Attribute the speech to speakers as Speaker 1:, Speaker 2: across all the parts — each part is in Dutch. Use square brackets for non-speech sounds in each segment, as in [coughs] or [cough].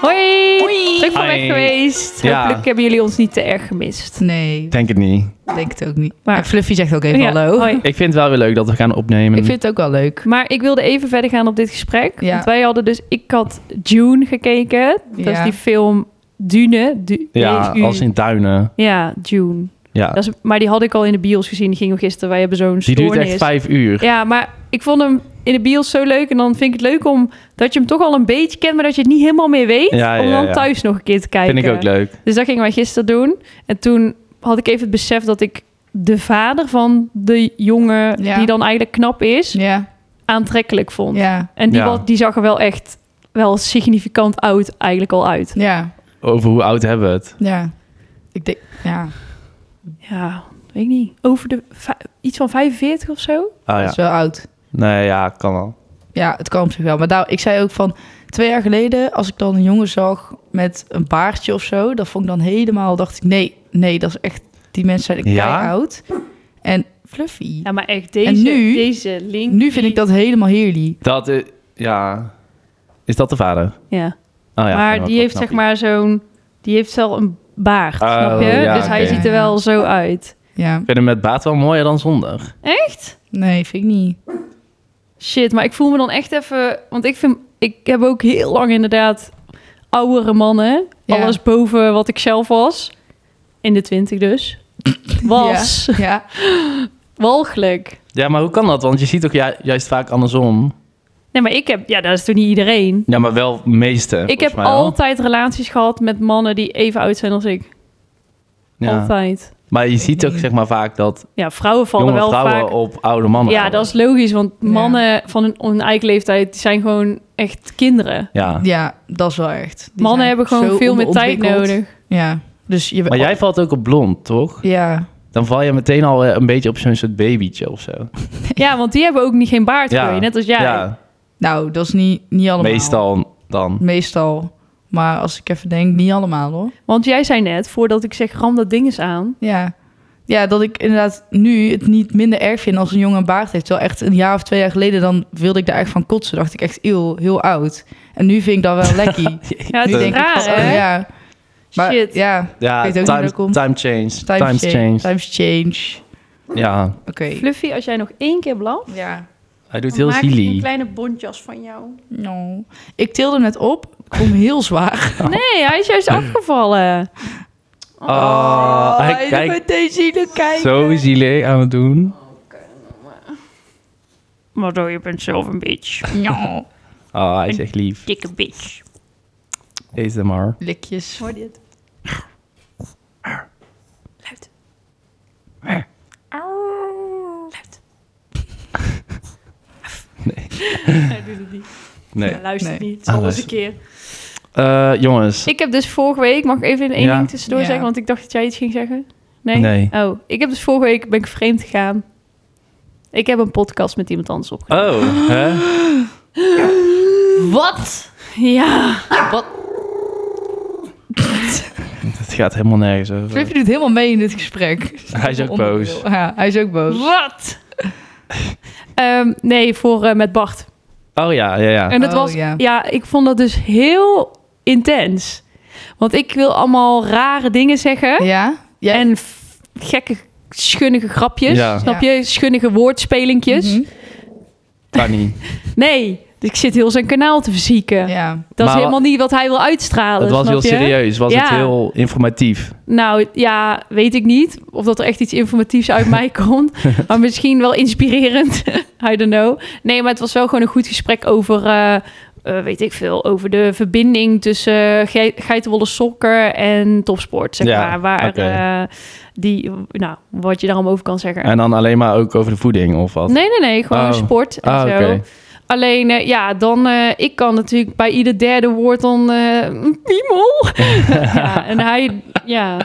Speaker 1: Hoi! Leuk van weg
Speaker 2: Hi.
Speaker 1: geweest.
Speaker 2: Ja.
Speaker 1: Hopelijk hebben jullie ons niet te erg gemist.
Speaker 3: Nee,
Speaker 2: Denk het niet.
Speaker 3: denk het ook niet.
Speaker 1: Maar-
Speaker 3: Maar en Fluffy zegt ook even
Speaker 1: Ja,
Speaker 3: hallo.
Speaker 1: hoi.
Speaker 2: Ik vind het wel weer leuk dat we gaan opnemen.
Speaker 3: Ik vind het ook wel leuk.
Speaker 1: Maar ik wilde even verder gaan op dit gesprek.
Speaker 3: Ja.
Speaker 1: Want wij hadden dus... Ik had June gekeken. Dat is
Speaker 3: Ja.
Speaker 1: die film Dune. Du-
Speaker 2: ja,
Speaker 1: D-U-
Speaker 2: als in duinen.
Speaker 1: Ja, June.
Speaker 2: Ja.
Speaker 1: Dat is, maar die had ik al in de bios gezien. Die ging we gisteren. Wij hebben zo'n
Speaker 2: Die duurt echt
Speaker 1: stoornis.
Speaker 2: vijf uur.
Speaker 1: Ja, maar ik vond hem in de bios zo leuk. En dan vind ik het leuk om dat je hem toch al een beetje kent, maar dat je het niet helemaal meer weet.
Speaker 2: Ja, ja,
Speaker 1: om dan
Speaker 2: ja.
Speaker 1: thuis nog een keer te kijken.
Speaker 2: Vind ik ook leuk.
Speaker 1: Dus dat gingen wij gisteren doen. En toen had ik even het besef dat ik de vader van de jongen,
Speaker 3: Ja.
Speaker 1: die dan eigenlijk knap is,
Speaker 3: Ja,
Speaker 1: aantrekkelijk vond.
Speaker 3: ja,
Speaker 1: En die,
Speaker 2: Ja.
Speaker 1: wa- die zag er wel echt wel significant oud eigenlijk al uit.
Speaker 3: ja,
Speaker 2: Over hoe oud hebben we het?
Speaker 3: ja. Ik denk, ja,
Speaker 1: Ja, weet ik niet. Over de va- iets van 45 of zo.
Speaker 2: Ah
Speaker 3: dat
Speaker 2: ja.
Speaker 3: is wel oud.
Speaker 2: Nee, ja, kan wel.
Speaker 3: Ja, het kan op zich wel. Maar daar, ik zei ook van, twee jaar geleden, als ik dan een jongen zag met een baardje of zo, dat vond ik dan helemaal, dacht ik, nee, nee, dat is echt, die mensen zijn
Speaker 2: Ja?
Speaker 3: ja? oud. En Fluffy.
Speaker 1: Ja, maar echt deze,
Speaker 3: nu-
Speaker 1: deze link.
Speaker 3: Nu vind ik dat helemaal heerlijk.
Speaker 2: Dat is... Ja. Is dat de vader? Oh,
Speaker 1: Ja.
Speaker 2: ja, vind ik
Speaker 1: maar
Speaker 2: wel
Speaker 1: die heeft zeg
Speaker 2: knappie.
Speaker 1: maar zo'n... Die heeft wel een baard,
Speaker 2: Oh,
Speaker 1: snap je?
Speaker 2: ja,
Speaker 1: dus hij
Speaker 2: oké.
Speaker 1: ziet er wel zo uit.
Speaker 3: Ja,
Speaker 2: Ik vind hem met baat wel mooier dan zonder.
Speaker 1: Echt?
Speaker 3: nee, vind ik niet.
Speaker 1: Shit, maar ik voel me dan echt even... Want ik vind... Ik heb ook heel lang inderdaad oudere mannen.
Speaker 3: Ja.
Speaker 1: Alles boven wat ik zelf was. In de twintig dus.
Speaker 3: [laughs]
Speaker 1: Was.
Speaker 3: Ja,
Speaker 1: Walgelijk.
Speaker 2: Ja, maar hoe kan dat? Want je ziet ook ju- juist vaak andersom.
Speaker 1: Nee, maar ik heb... Ja, dat is toch niet iedereen?
Speaker 2: Ja, maar wel meeste.
Speaker 1: ik
Speaker 2: volgens
Speaker 1: heb
Speaker 2: mij wel.
Speaker 1: altijd relaties gehad met mannen die even oud zijn als ik.
Speaker 2: Ja.
Speaker 1: Altijd.
Speaker 2: Maar je ziet ook zeg maar vaak dat
Speaker 1: Ja, vrouwen vallen
Speaker 2: jonge
Speaker 1: wel
Speaker 2: vrouwen
Speaker 1: vaak...
Speaker 2: op oude mannen
Speaker 1: Ja,
Speaker 2: vallen.
Speaker 1: dat is logisch, want
Speaker 3: Ja.
Speaker 1: mannen van hun, hun eigen leeftijd die zijn gewoon echt kinderen.
Speaker 2: Ja.
Speaker 3: ja, dat is wel echt. Die
Speaker 1: mannen
Speaker 3: zijn
Speaker 1: hebben gewoon
Speaker 3: zo
Speaker 1: veel meer tijd
Speaker 3: onderontwikkeld. [laughs]
Speaker 1: nodig.
Speaker 3: Ja, dus je
Speaker 2: Maar jij valt ook op blond, toch?
Speaker 3: Ja,
Speaker 2: Dan val je meteen al eh, een beetje op zo'n soort babytje of zo.
Speaker 1: Ja, want die hebben ook niet geen baard
Speaker 2: Ja.
Speaker 1: groeien, net als jij. Ja.
Speaker 3: nou, dat is niet, niet allemaal.
Speaker 2: meestal dan.
Speaker 3: Meestal. Maar als ik even denk, niet allemaal hoor.
Speaker 1: Want jij zei net, voordat ik zeg ram dat ding eens aan.
Speaker 3: Ja. Ja, dat ik inderdaad nu het niet minder erg vind als een jongen een baard heeft. Terwijl echt een jaar of twee jaar geleden, dan wilde ik daar echt van kotsen. Dacht ik echt, eeuw, heel oud. En nu vind ik dat
Speaker 2: [laughs]
Speaker 3: wel lekkie.
Speaker 1: Ja, het
Speaker 3: nu
Speaker 2: Eh,
Speaker 1: is
Speaker 3: denk ik
Speaker 1: raar,
Speaker 3: van, oh,
Speaker 1: hè?
Speaker 3: ja. Maar
Speaker 1: Shit.
Speaker 3: ja,
Speaker 2: Ja,
Speaker 3: Ik weet ook niet
Speaker 2: time,
Speaker 3: hoe dat komt.
Speaker 2: time change.
Speaker 3: times,
Speaker 2: times
Speaker 3: change,
Speaker 2: change.
Speaker 3: Times change.
Speaker 2: Ja,
Speaker 3: Oké.
Speaker 1: Fluffy, als jij nog één keer blaf,
Speaker 3: Ja.
Speaker 2: hij doet
Speaker 1: dan
Speaker 2: heel
Speaker 1: maak ik een
Speaker 2: silly.
Speaker 1: kleine bontjas van jou.
Speaker 3: No. Ik tilde hem net op. Ik vond hem heel zwaar.
Speaker 1: Nee, hij is juist afgevallen.
Speaker 2: Oh, hij kijkt
Speaker 3: met deze kijken.
Speaker 2: zo zielig aan het doen.
Speaker 1: Maar door je bent zelf een bitch.
Speaker 3: No.
Speaker 2: Oh, hij is echt lief.
Speaker 1: Dikke bitch.
Speaker 2: ASMR.
Speaker 3: Likjes.
Speaker 1: Hoor je het? Luid. Luid.
Speaker 2: Nee.
Speaker 1: Hij doet het niet.
Speaker 2: Nee.
Speaker 1: Hij luistert
Speaker 3: Nee.
Speaker 1: niet. Het is alles een
Speaker 2: luistert.
Speaker 1: keer.
Speaker 2: Eh, jongens,
Speaker 1: Ik heb dus vorige week... Mag ik even één
Speaker 2: Ja.
Speaker 1: ding tussendoor
Speaker 3: Ja.
Speaker 1: zeggen? Want ik dacht dat jij iets ging zeggen. Nee?
Speaker 2: Nee.
Speaker 1: Oh, ik heb dus vorige week... Ben ik vreemd gegaan. Ik heb een podcast met iemand anders opgenomen.
Speaker 2: Oh, hè?
Speaker 3: Wat?
Speaker 1: Ja.
Speaker 3: Wat?
Speaker 2: Het gaat helemaal nergens over.
Speaker 3: Fluffy doet helemaal mee in dit gesprek.
Speaker 2: [laughs] Hij is ook boos.
Speaker 3: Ja, hij is ook boos.
Speaker 1: Wat? Ehm, nee, voor eh, met Bart.
Speaker 2: Oh ja, ja, ja.
Speaker 1: En dat
Speaker 3: Oh,
Speaker 1: was, ja.
Speaker 3: ja.
Speaker 1: ik vond dat dus heel intens. Want ik wil allemaal rare dingen zeggen.
Speaker 3: Ja? Jij-
Speaker 1: En f- gekke, schunnige grapjes.
Speaker 2: Ja.
Speaker 1: Snap je? Schunnige woordspelinkjes.
Speaker 3: Mhm.
Speaker 2: Kan
Speaker 1: [laughs]
Speaker 2: niet.
Speaker 1: Nee, dus ik zit heel zijn kanaal te verzieken.
Speaker 3: Ja.
Speaker 1: Dat is
Speaker 2: Maar
Speaker 1: helemaal niet wat hij wil uitstralen.
Speaker 2: Het was
Speaker 1: snap
Speaker 2: heel
Speaker 1: je?
Speaker 2: serieus. Was het
Speaker 1: Ja.
Speaker 2: heel informatief.
Speaker 1: Nou ja, weet ik niet. Of dat er echt iets informatiefs uit
Speaker 2: [laughs]
Speaker 1: mij komt. Maar misschien wel inspirerend. [laughs] I don't know. Nee, maar het was wel gewoon een goed gesprek over. eh, eh, weet ik veel, over de verbinding tussen ge geitenwolle sokken en topsport, zeg
Speaker 2: Ja,
Speaker 1: maar. Waar
Speaker 2: oké.
Speaker 1: eh, die, nou, wat je daarom over kan zeggen.
Speaker 2: En dan alleen maar ook over de voeding of wat?
Speaker 1: Nee, nee, nee, gewoon
Speaker 2: Oh.
Speaker 1: sport en
Speaker 2: Ah,
Speaker 1: zo.
Speaker 2: oké.
Speaker 1: Alleen, eh, ja, dan, eh, ik kan natuurlijk bij ieder derde woord dan eh, een
Speaker 2: [laughs]
Speaker 1: piemel. [laughs] ja, en hij, ja,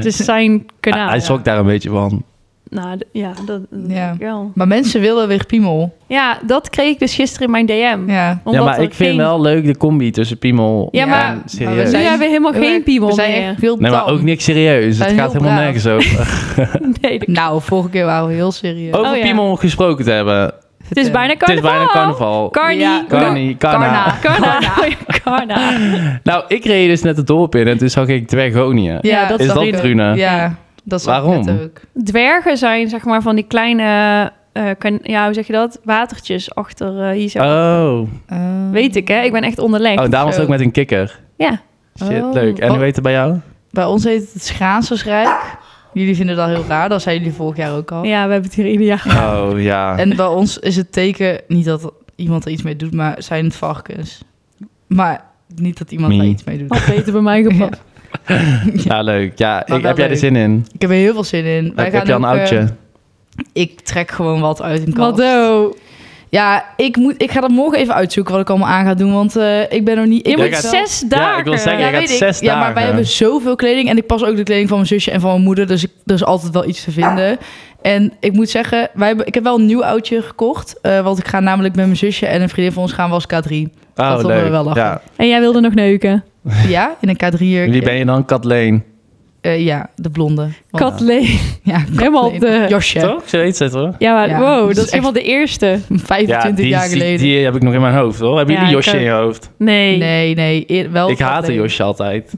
Speaker 1: dus zijn kanaal.
Speaker 2: hij hij schrok daar een beetje van.
Speaker 1: Nou, d- ja, dat dat
Speaker 3: Ja.
Speaker 1: denk ik wel.
Speaker 3: Maar mensen willen weer piemel.
Speaker 1: Ja, dat kreeg ik dus gisteren in mijn DM.
Speaker 3: Ja.
Speaker 1: Omdat
Speaker 2: ja, maar
Speaker 1: er
Speaker 2: ik vind
Speaker 1: geen-
Speaker 2: wel leuk de combi tussen piemel
Speaker 1: Ja, maar-
Speaker 2: en
Speaker 3: maar we
Speaker 2: serieus.
Speaker 1: Nu
Speaker 3: zijn-
Speaker 1: hebben we helemaal
Speaker 3: Heel
Speaker 1: Oh, geen
Speaker 3: erg-
Speaker 1: piemel
Speaker 3: we zijn
Speaker 1: meer.
Speaker 3: echt veel
Speaker 2: Nee, maar
Speaker 3: tam.
Speaker 2: ook niks serieus. Het
Speaker 3: Zijn
Speaker 2: gaat
Speaker 3: heel
Speaker 2: helemaal
Speaker 3: braaf. [laughs]
Speaker 2: nergens over.
Speaker 1: [laughs] Nee, dat-
Speaker 3: Nou, vorige keer waren we heel serieus.
Speaker 2: Over
Speaker 1: Oh, ja.
Speaker 2: piemel gesproken te hebben.
Speaker 1: Het is bijna
Speaker 2: Het is
Speaker 1: carnaval.
Speaker 2: bijna carnaval.
Speaker 1: Carni.
Speaker 3: eh, Ja.
Speaker 2: Carni, carna.
Speaker 3: Carna.
Speaker 1: Carna. [laughs] Carna.
Speaker 2: Nou, ik reed dus net het dorp in en toen zag ik Dwergonia.
Speaker 1: Ja, dat
Speaker 2: is
Speaker 3: zag
Speaker 2: dat
Speaker 3: ik ook.
Speaker 2: Truna?
Speaker 3: Ja, dat is
Speaker 2: Waarom?
Speaker 3: ook.
Speaker 1: Dwergen zijn zeg maar van die kleine, eh, kan- ja, hoe zeg je dat? Watertjes achter eh, hier zo.
Speaker 2: Oh.
Speaker 3: Eh,
Speaker 1: Weet ik, hè? Ik ben echt onderlegd.
Speaker 2: oh, daar was het ook met een kikker.
Speaker 1: Ja.
Speaker 2: Shit,
Speaker 3: Oh.
Speaker 2: leuk. En hoe
Speaker 3: Oh.
Speaker 2: heet het bij jou?
Speaker 3: Bij ons heet het Schaansensrijk. Jullie vinden dat heel raar, dat zeiden jullie vorig jaar ook al.
Speaker 1: ja, we hebben het hier ieder jaar.
Speaker 2: Oh, ja.
Speaker 3: En bij ons is het teken, niet dat iemand er iets mee doet, maar zijn het varkens. Maar niet dat iemand
Speaker 2: Mie.
Speaker 3: daar iets mee doet.
Speaker 1: Had beter bij mij gepast.
Speaker 3: [laughs]
Speaker 2: Ja, leuk. Ja,
Speaker 3: wel
Speaker 2: ik, heb jij er
Speaker 3: leuk.
Speaker 2: zin in?
Speaker 3: Ik heb er heel veel zin in. Wij
Speaker 2: Heb,
Speaker 3: gaan
Speaker 2: heb je al een
Speaker 3: ook, eh,
Speaker 2: oudje?
Speaker 3: ik trek gewoon wat uit een kast.
Speaker 1: Waldo.
Speaker 3: Ja, ik, moet, ik ga dat morgen even uitzoeken wat ik allemaal aan ga doen, want eh, ik ben nog niet...
Speaker 1: Je
Speaker 3: in.
Speaker 2: Jij
Speaker 1: moet
Speaker 2: gaat-
Speaker 1: zes dagen.
Speaker 2: ja, ik wil zeggen,
Speaker 3: Ja,
Speaker 2: jij gaat
Speaker 3: weet ik.
Speaker 2: zes
Speaker 3: Ja, maar wij
Speaker 2: dagen.
Speaker 3: hebben zoveel kleding. En ik pas ook de kleding van mijn zusje en van mijn moeder. Dus ik, er is altijd wel iets te vinden. En ik moet zeggen, wij hebben, ik heb wel een nieuw oudje gekocht. eh, want ik ga namelijk met mijn zusje en een vriendin van ons gaan was K3.
Speaker 2: [laughs] Oh,
Speaker 3: dat
Speaker 2: leuk.
Speaker 3: we wel lachen.
Speaker 2: Ja.
Speaker 1: En jij wilde nog
Speaker 3: Oh,
Speaker 1: neuken.
Speaker 3: Ja, in een K3.
Speaker 2: Wie ben je dan? Katleen.
Speaker 3: ja, de blonde. Want-
Speaker 1: Katleen.
Speaker 3: ja, Kathleen.
Speaker 1: helemaal op de-
Speaker 3: Josje.
Speaker 2: Toch? Zoiets het hoor.
Speaker 1: Ja, maar
Speaker 3: Ja,
Speaker 1: wow,
Speaker 3: dus
Speaker 1: dat is
Speaker 3: echt-
Speaker 1: helemaal de eerste.
Speaker 3: 25
Speaker 2: die,
Speaker 3: jaar
Speaker 2: die-
Speaker 3: geleden.
Speaker 2: die heb ik nog in mijn hoofd hoor. Hebben
Speaker 1: Ja,
Speaker 2: jullie
Speaker 1: ik
Speaker 2: Josje
Speaker 1: ook.
Speaker 2: in je hoofd?
Speaker 1: Nee.
Speaker 3: Nee, nee. eer- wel
Speaker 2: ik haatte
Speaker 3: Kathleen.
Speaker 2: Josje altijd.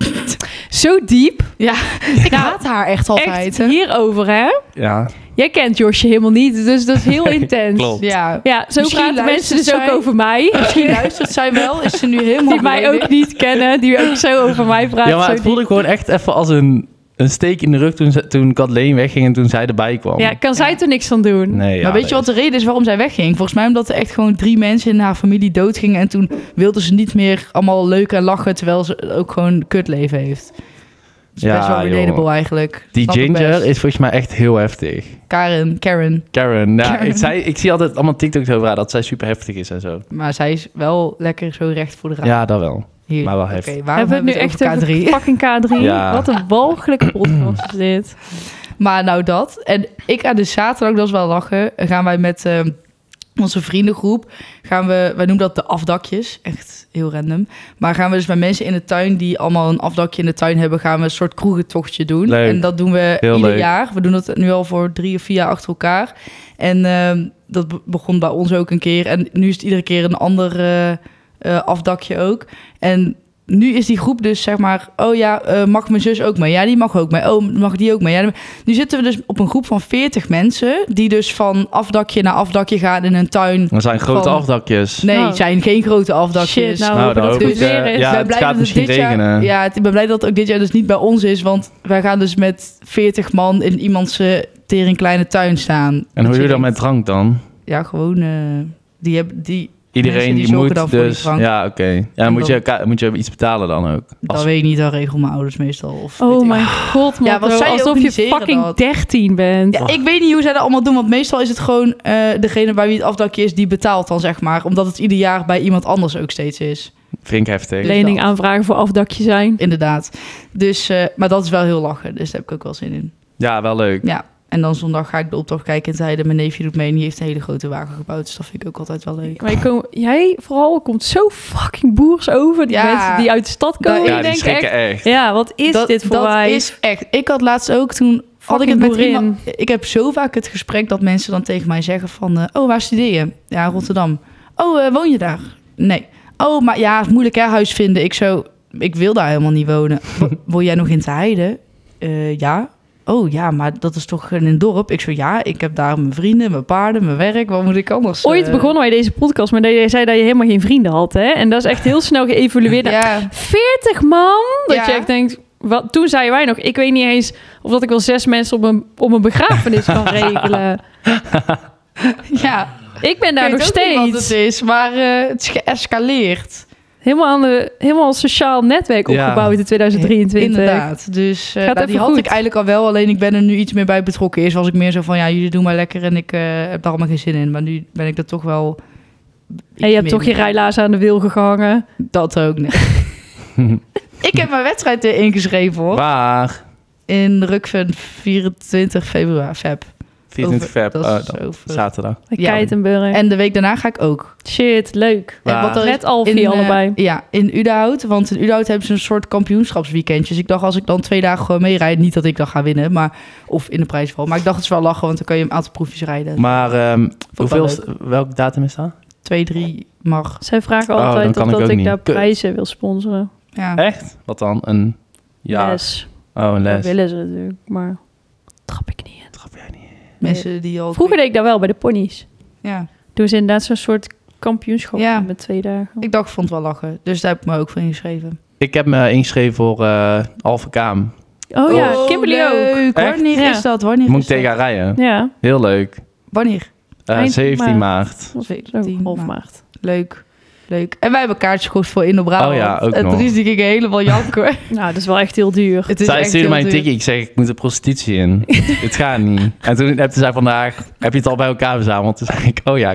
Speaker 1: Zo diep. [laughs] Nou,
Speaker 3: Ja, ik haat haar Nou, echt altijd.
Speaker 1: Echt
Speaker 3: hè.
Speaker 1: hierover, hè?
Speaker 2: Ja,
Speaker 1: Jij kent Josje helemaal niet, dus dat is
Speaker 2: [laughs]
Speaker 1: heel intens.
Speaker 2: klopt.
Speaker 3: Ja,
Speaker 1: Ja, zo
Speaker 3: Misschien
Speaker 1: praten mensen
Speaker 3: luistert
Speaker 1: dus ook
Speaker 3: zij-
Speaker 1: over mij.
Speaker 3: [laughs] misschien luistert zij wel. Is [laughs] ze nu helemaal
Speaker 1: [laughs] Die mij
Speaker 3: beledigd?
Speaker 1: ook niet kennen, die ook zo over mij praten.
Speaker 2: Ja, maar
Speaker 1: zo
Speaker 2: het voelde
Speaker 1: diep.
Speaker 2: ik gewoon echt even als een, een steek in de rug toen, ze- toen Katleen wegging en toen zij erbij kwam.
Speaker 1: Ja, kan zij er niks aan doen?
Speaker 2: nee, ja,
Speaker 3: maar weet je wat de reden is waarom zij wegging? Volgens mij omdat er echt gewoon drie mensen in haar familie doodgingen. En toen wilden ze niet meer allemaal leuk en lachen, terwijl ze ook gewoon een kutleven heeft. Dat is
Speaker 2: Ja,
Speaker 3: best wel
Speaker 2: joh.
Speaker 3: relatable eigenlijk.
Speaker 2: Die
Speaker 3: Snap ik best.
Speaker 2: Ginger is volgens mij echt heel heftig.
Speaker 3: Karen, Karen.
Speaker 2: Karen, ja,
Speaker 3: Karen.
Speaker 2: Ik, zei, ik zie altijd allemaal TikToks over haar dat zij super heftig is en zo.
Speaker 3: Maar zij is wel lekker zo recht voor de raam.
Speaker 2: Ja, dat wel.
Speaker 3: Hier.
Speaker 2: Maar wel
Speaker 3: Oké,
Speaker 2: heftig.
Speaker 3: waarom hebben we het nu echt over K3? [laughs]
Speaker 1: over fucking K3?
Speaker 2: Ja.
Speaker 1: Wat een
Speaker 2: [clears throat]
Speaker 1: walgelijke podcast is dit.
Speaker 3: Maar nou dat. En ik ga dus zaterdag, dat is wel lachen, gaan wij met ehm, onze vriendengroep, gaan we, wij noemen dat de afdakjes, echt heel random. Maar gaan we dus bij mensen in de tuin die allemaal een afdakje in de tuin hebben, gaan we een soort kroegentochtje doen.
Speaker 2: Leuk.
Speaker 3: En dat doen we
Speaker 2: Heel
Speaker 3: ieder
Speaker 2: leuk.
Speaker 3: jaar. We doen dat nu al voor drie of vier jaar achter elkaar. En ehm, dat be- begon bij ons ook een keer. En nu is het iedere keer een ander eh, eh, afdakje ook. En nu is die groep dus zeg maar, oh ja, eh, mag mijn zus ook mee? Ja, die mag ook mee. Oh, mag die ook mee? Ja, die- nu zitten we dus op een groep van 40 mensen die dus van afdakje naar afdakje gaan in een tuin.
Speaker 2: Er zijn grote
Speaker 3: Van-
Speaker 2: afdakjes.
Speaker 3: Nee,
Speaker 1: Oh.
Speaker 3: het zijn geen grote afdakjes.
Speaker 1: Shit, nou,
Speaker 2: Nou,
Speaker 1: hopen
Speaker 2: dan
Speaker 1: dat
Speaker 2: hoop
Speaker 1: het
Speaker 2: ik,
Speaker 1: goed weer
Speaker 2: eh,
Speaker 1: is.
Speaker 2: ja.
Speaker 3: Ik ben
Speaker 2: het
Speaker 3: blij
Speaker 2: gaat
Speaker 3: dat
Speaker 2: misschien
Speaker 3: dus dit jaar-
Speaker 2: regenen.
Speaker 3: ja, het- ik ben blij dat het ook dit jaar dus niet bij ons is, want wij gaan dus met 40 man in iemands eh, tering kleine tuin staan.
Speaker 2: En hoe
Speaker 3: Dat
Speaker 2: doe je dat
Speaker 3: denkt,
Speaker 2: met drank dan?
Speaker 3: Ja, gewoon eh, die hebben die.
Speaker 2: Iedereen
Speaker 3: Mensen die
Speaker 2: die
Speaker 3: zorgen dan
Speaker 2: moet
Speaker 3: voor die
Speaker 2: dus...
Speaker 3: drank.
Speaker 2: Ja, oké. Ja, dan
Speaker 3: En
Speaker 2: moet je,
Speaker 3: dan-
Speaker 2: elkaar- moet je iets betalen dan ook.
Speaker 3: Dat
Speaker 2: Als-
Speaker 3: weet ik niet, dat regelen mijn ouders meestal. Of weet
Speaker 1: Oh
Speaker 3: ik.
Speaker 1: mijn god, man.
Speaker 3: Ja, wat zij
Speaker 1: alsof je
Speaker 3: organiseren
Speaker 1: fucking
Speaker 3: dat.
Speaker 1: 13 bent.
Speaker 3: Ja, ik weet niet hoe zij dat allemaal doen, want meestal is het gewoon eh, degene bij wie het afdakje is die betaalt dan zeg maar, omdat het ieder jaar bij iemand anders ook steeds is.
Speaker 2: Vind ik heftig.
Speaker 3: Nee.
Speaker 1: Lening
Speaker 3: dat.
Speaker 1: aanvragen voor afdakje zijn.
Speaker 3: Inderdaad. Dus, eh, maar dat is wel heel lachen, dus daar heb ik ook wel zin in.
Speaker 2: Ja, wel leuk.
Speaker 3: Ja. En dan zondag ga ik de optocht kijken in Tijden. Mijn neefje doet mee en die heeft een hele grote wagen gebouwd. Dus dat vind ik ook altijd wel leuk.
Speaker 1: Maar je kom- jij vooral komt zo fucking boers over. Die
Speaker 3: Ja.
Speaker 1: mensen die uit de stad komen.
Speaker 3: Dat-
Speaker 1: ik
Speaker 2: Ja, die
Speaker 1: denk
Speaker 2: schrikken
Speaker 1: echt,
Speaker 2: echt.
Speaker 1: Ja, wat is
Speaker 3: dat,
Speaker 1: dit voor
Speaker 3: dat
Speaker 1: wijs?
Speaker 3: is echt. Ik had laatst ook toen had ik
Speaker 1: Fucking
Speaker 3: het met
Speaker 1: boerin.
Speaker 3: iemand, Ik heb zo vaak het gesprek dat mensen dan tegen mij zeggen van, eh, oh waar studeer je? Ja, Rotterdam. Oh, eh, woon je daar? Nee. Oh, maar ja, het is moeilijk hè, huis vinden. Ik zo, ik wil daar helemaal niet
Speaker 1: [laughs]
Speaker 3: wonen. Wo- Woon jij nog in te heiden? Eh, ja. Oh ja, maar dat is toch in een dorp? Ik zo, ja, ik heb daar mijn vrienden, mijn paarden, mijn werk. Wat moet ik anders?
Speaker 1: Ooit
Speaker 3: eh,
Speaker 1: begonnen wij deze podcast, maar dat jij zei dat je helemaal geen vrienden had. Hè? En dat is echt heel snel geëvolueerd. naar [laughs]
Speaker 3: Ja.
Speaker 1: 40 man! Dat
Speaker 3: Ja.
Speaker 1: je echt denkt... Wat, toen zeiden wij nog, ik weet niet eens of dat ik wel zes mensen op een, op een begrafenis
Speaker 3: [laughs]
Speaker 1: kan regelen.
Speaker 3: ja.
Speaker 1: Ik ben daar
Speaker 3: Ik weet
Speaker 1: nou, nog
Speaker 3: ook niet wat
Speaker 1: steeds.
Speaker 3: het is, maar eh, het is geëscaleerd.
Speaker 1: Helemaal, aan de, helemaal een sociaal netwerk
Speaker 2: Ja.
Speaker 1: opgebouwd in 2023.
Speaker 3: Inderdaad. Dus eh,
Speaker 1: Gaat
Speaker 3: nou, die
Speaker 1: even
Speaker 3: had
Speaker 1: goed.
Speaker 3: ik eigenlijk al wel, alleen ik ben er nu iets meer bij betrokken. Eerst was ik meer zo van, ja, jullie doen maar lekker en ik eh, heb daar allemaal geen zin in. Maar nu ben ik er toch wel...
Speaker 1: En je hebt toch je rijlaars aan de wiel gehangen.
Speaker 3: Dat ook, nee.
Speaker 1: [laughs]
Speaker 3: ik heb mijn wedstrijd er ingeschreven, hoor.
Speaker 2: Waar?
Speaker 3: In Rukven 24 februari, feb.
Speaker 2: 24
Speaker 3: Over-
Speaker 2: feb,
Speaker 3: dat
Speaker 2: eh,
Speaker 3: is
Speaker 2: dan
Speaker 3: over-
Speaker 2: zaterdag.
Speaker 3: Ja.
Speaker 1: Keitenburg.
Speaker 3: En de week daarna ga ik ook.
Speaker 1: Shit, leuk.
Speaker 2: Waar?
Speaker 3: En wat er is
Speaker 1: Red al
Speaker 3: in,
Speaker 1: vier
Speaker 3: eh,
Speaker 1: allebei.
Speaker 3: ja, in Udenhout. Want in Udenhout hebben ze een soort kampioenschapsweekendje. Dus ik dacht, als ik dan twee dagen gewoon meerijd... niet dat ik dan ga winnen, maar... of in de prijs val. Maar ik dacht, het is wel lachen, want dan kan je een aantal proefjes rijden.
Speaker 2: Maar ehm
Speaker 3: wel
Speaker 2: hoeveel,
Speaker 3: leuk.
Speaker 2: welk datum is dat?
Speaker 3: Twee, drie mag.
Speaker 1: Zij vragen
Speaker 2: Oh, dan
Speaker 1: altijd
Speaker 2: kan
Speaker 1: of
Speaker 2: ik
Speaker 1: dat
Speaker 2: ook
Speaker 1: ik
Speaker 2: niet.
Speaker 1: daar
Speaker 2: Kut.
Speaker 1: prijzen wil sponsoren.
Speaker 3: Ja.
Speaker 2: Echt? Wat dan? Een jaar?
Speaker 1: Les.
Speaker 2: Oh,
Speaker 1: Dat
Speaker 2: een les.
Speaker 1: willen ze natuurlijk, maar trap ik niet in.
Speaker 2: Trap jij niet in.
Speaker 3: Mensen die al...
Speaker 1: Vroeger deed ik dat wel bij de ponies.
Speaker 3: Ja.
Speaker 1: Toen ze inderdaad zo'n soort kampioenschap
Speaker 3: Ja.
Speaker 1: met twee dagen.
Speaker 3: Ik dacht, ik vond het wel lachen. Dus daar heb ik me ook voor ingeschreven.
Speaker 2: Ik heb me ingeschreven voor eh Alphen Kaam.
Speaker 1: Oh, ja, Kimberly ook.
Speaker 3: leuk.
Speaker 2: Echt?
Speaker 3: Wanneer
Speaker 1: Ja.
Speaker 3: is dat? Wanneer
Speaker 2: Moet ik
Speaker 3: is dat?
Speaker 2: tegen haar rijden.
Speaker 1: Ja,
Speaker 2: Heel leuk.
Speaker 3: Wanneer?
Speaker 2: Eh,
Speaker 1: Eind maart.
Speaker 2: 17 maart.
Speaker 1: dat was zo
Speaker 3: 17
Speaker 1: half
Speaker 3: maart.
Speaker 1: maart.
Speaker 3: Leuk. Leuk. En wij hebben kaartjes gekocht voor Indo Brabant.
Speaker 2: Oh ja, ook
Speaker 3: en
Speaker 2: nog.
Speaker 3: toen is ik helemaal
Speaker 2: [laughs]
Speaker 3: janken.
Speaker 1: Nou, dat is wel echt heel duur.
Speaker 3: het is
Speaker 2: Zij
Speaker 3: echt
Speaker 2: stuurde
Speaker 3: heel
Speaker 2: mij een
Speaker 3: duur.
Speaker 2: tikkie. Ik zeg, ik moet de prostitutie in. het gaat niet. En toen heb zij vandaag, heb je het al bij elkaar verzameld? Toen zei ik, oh ja,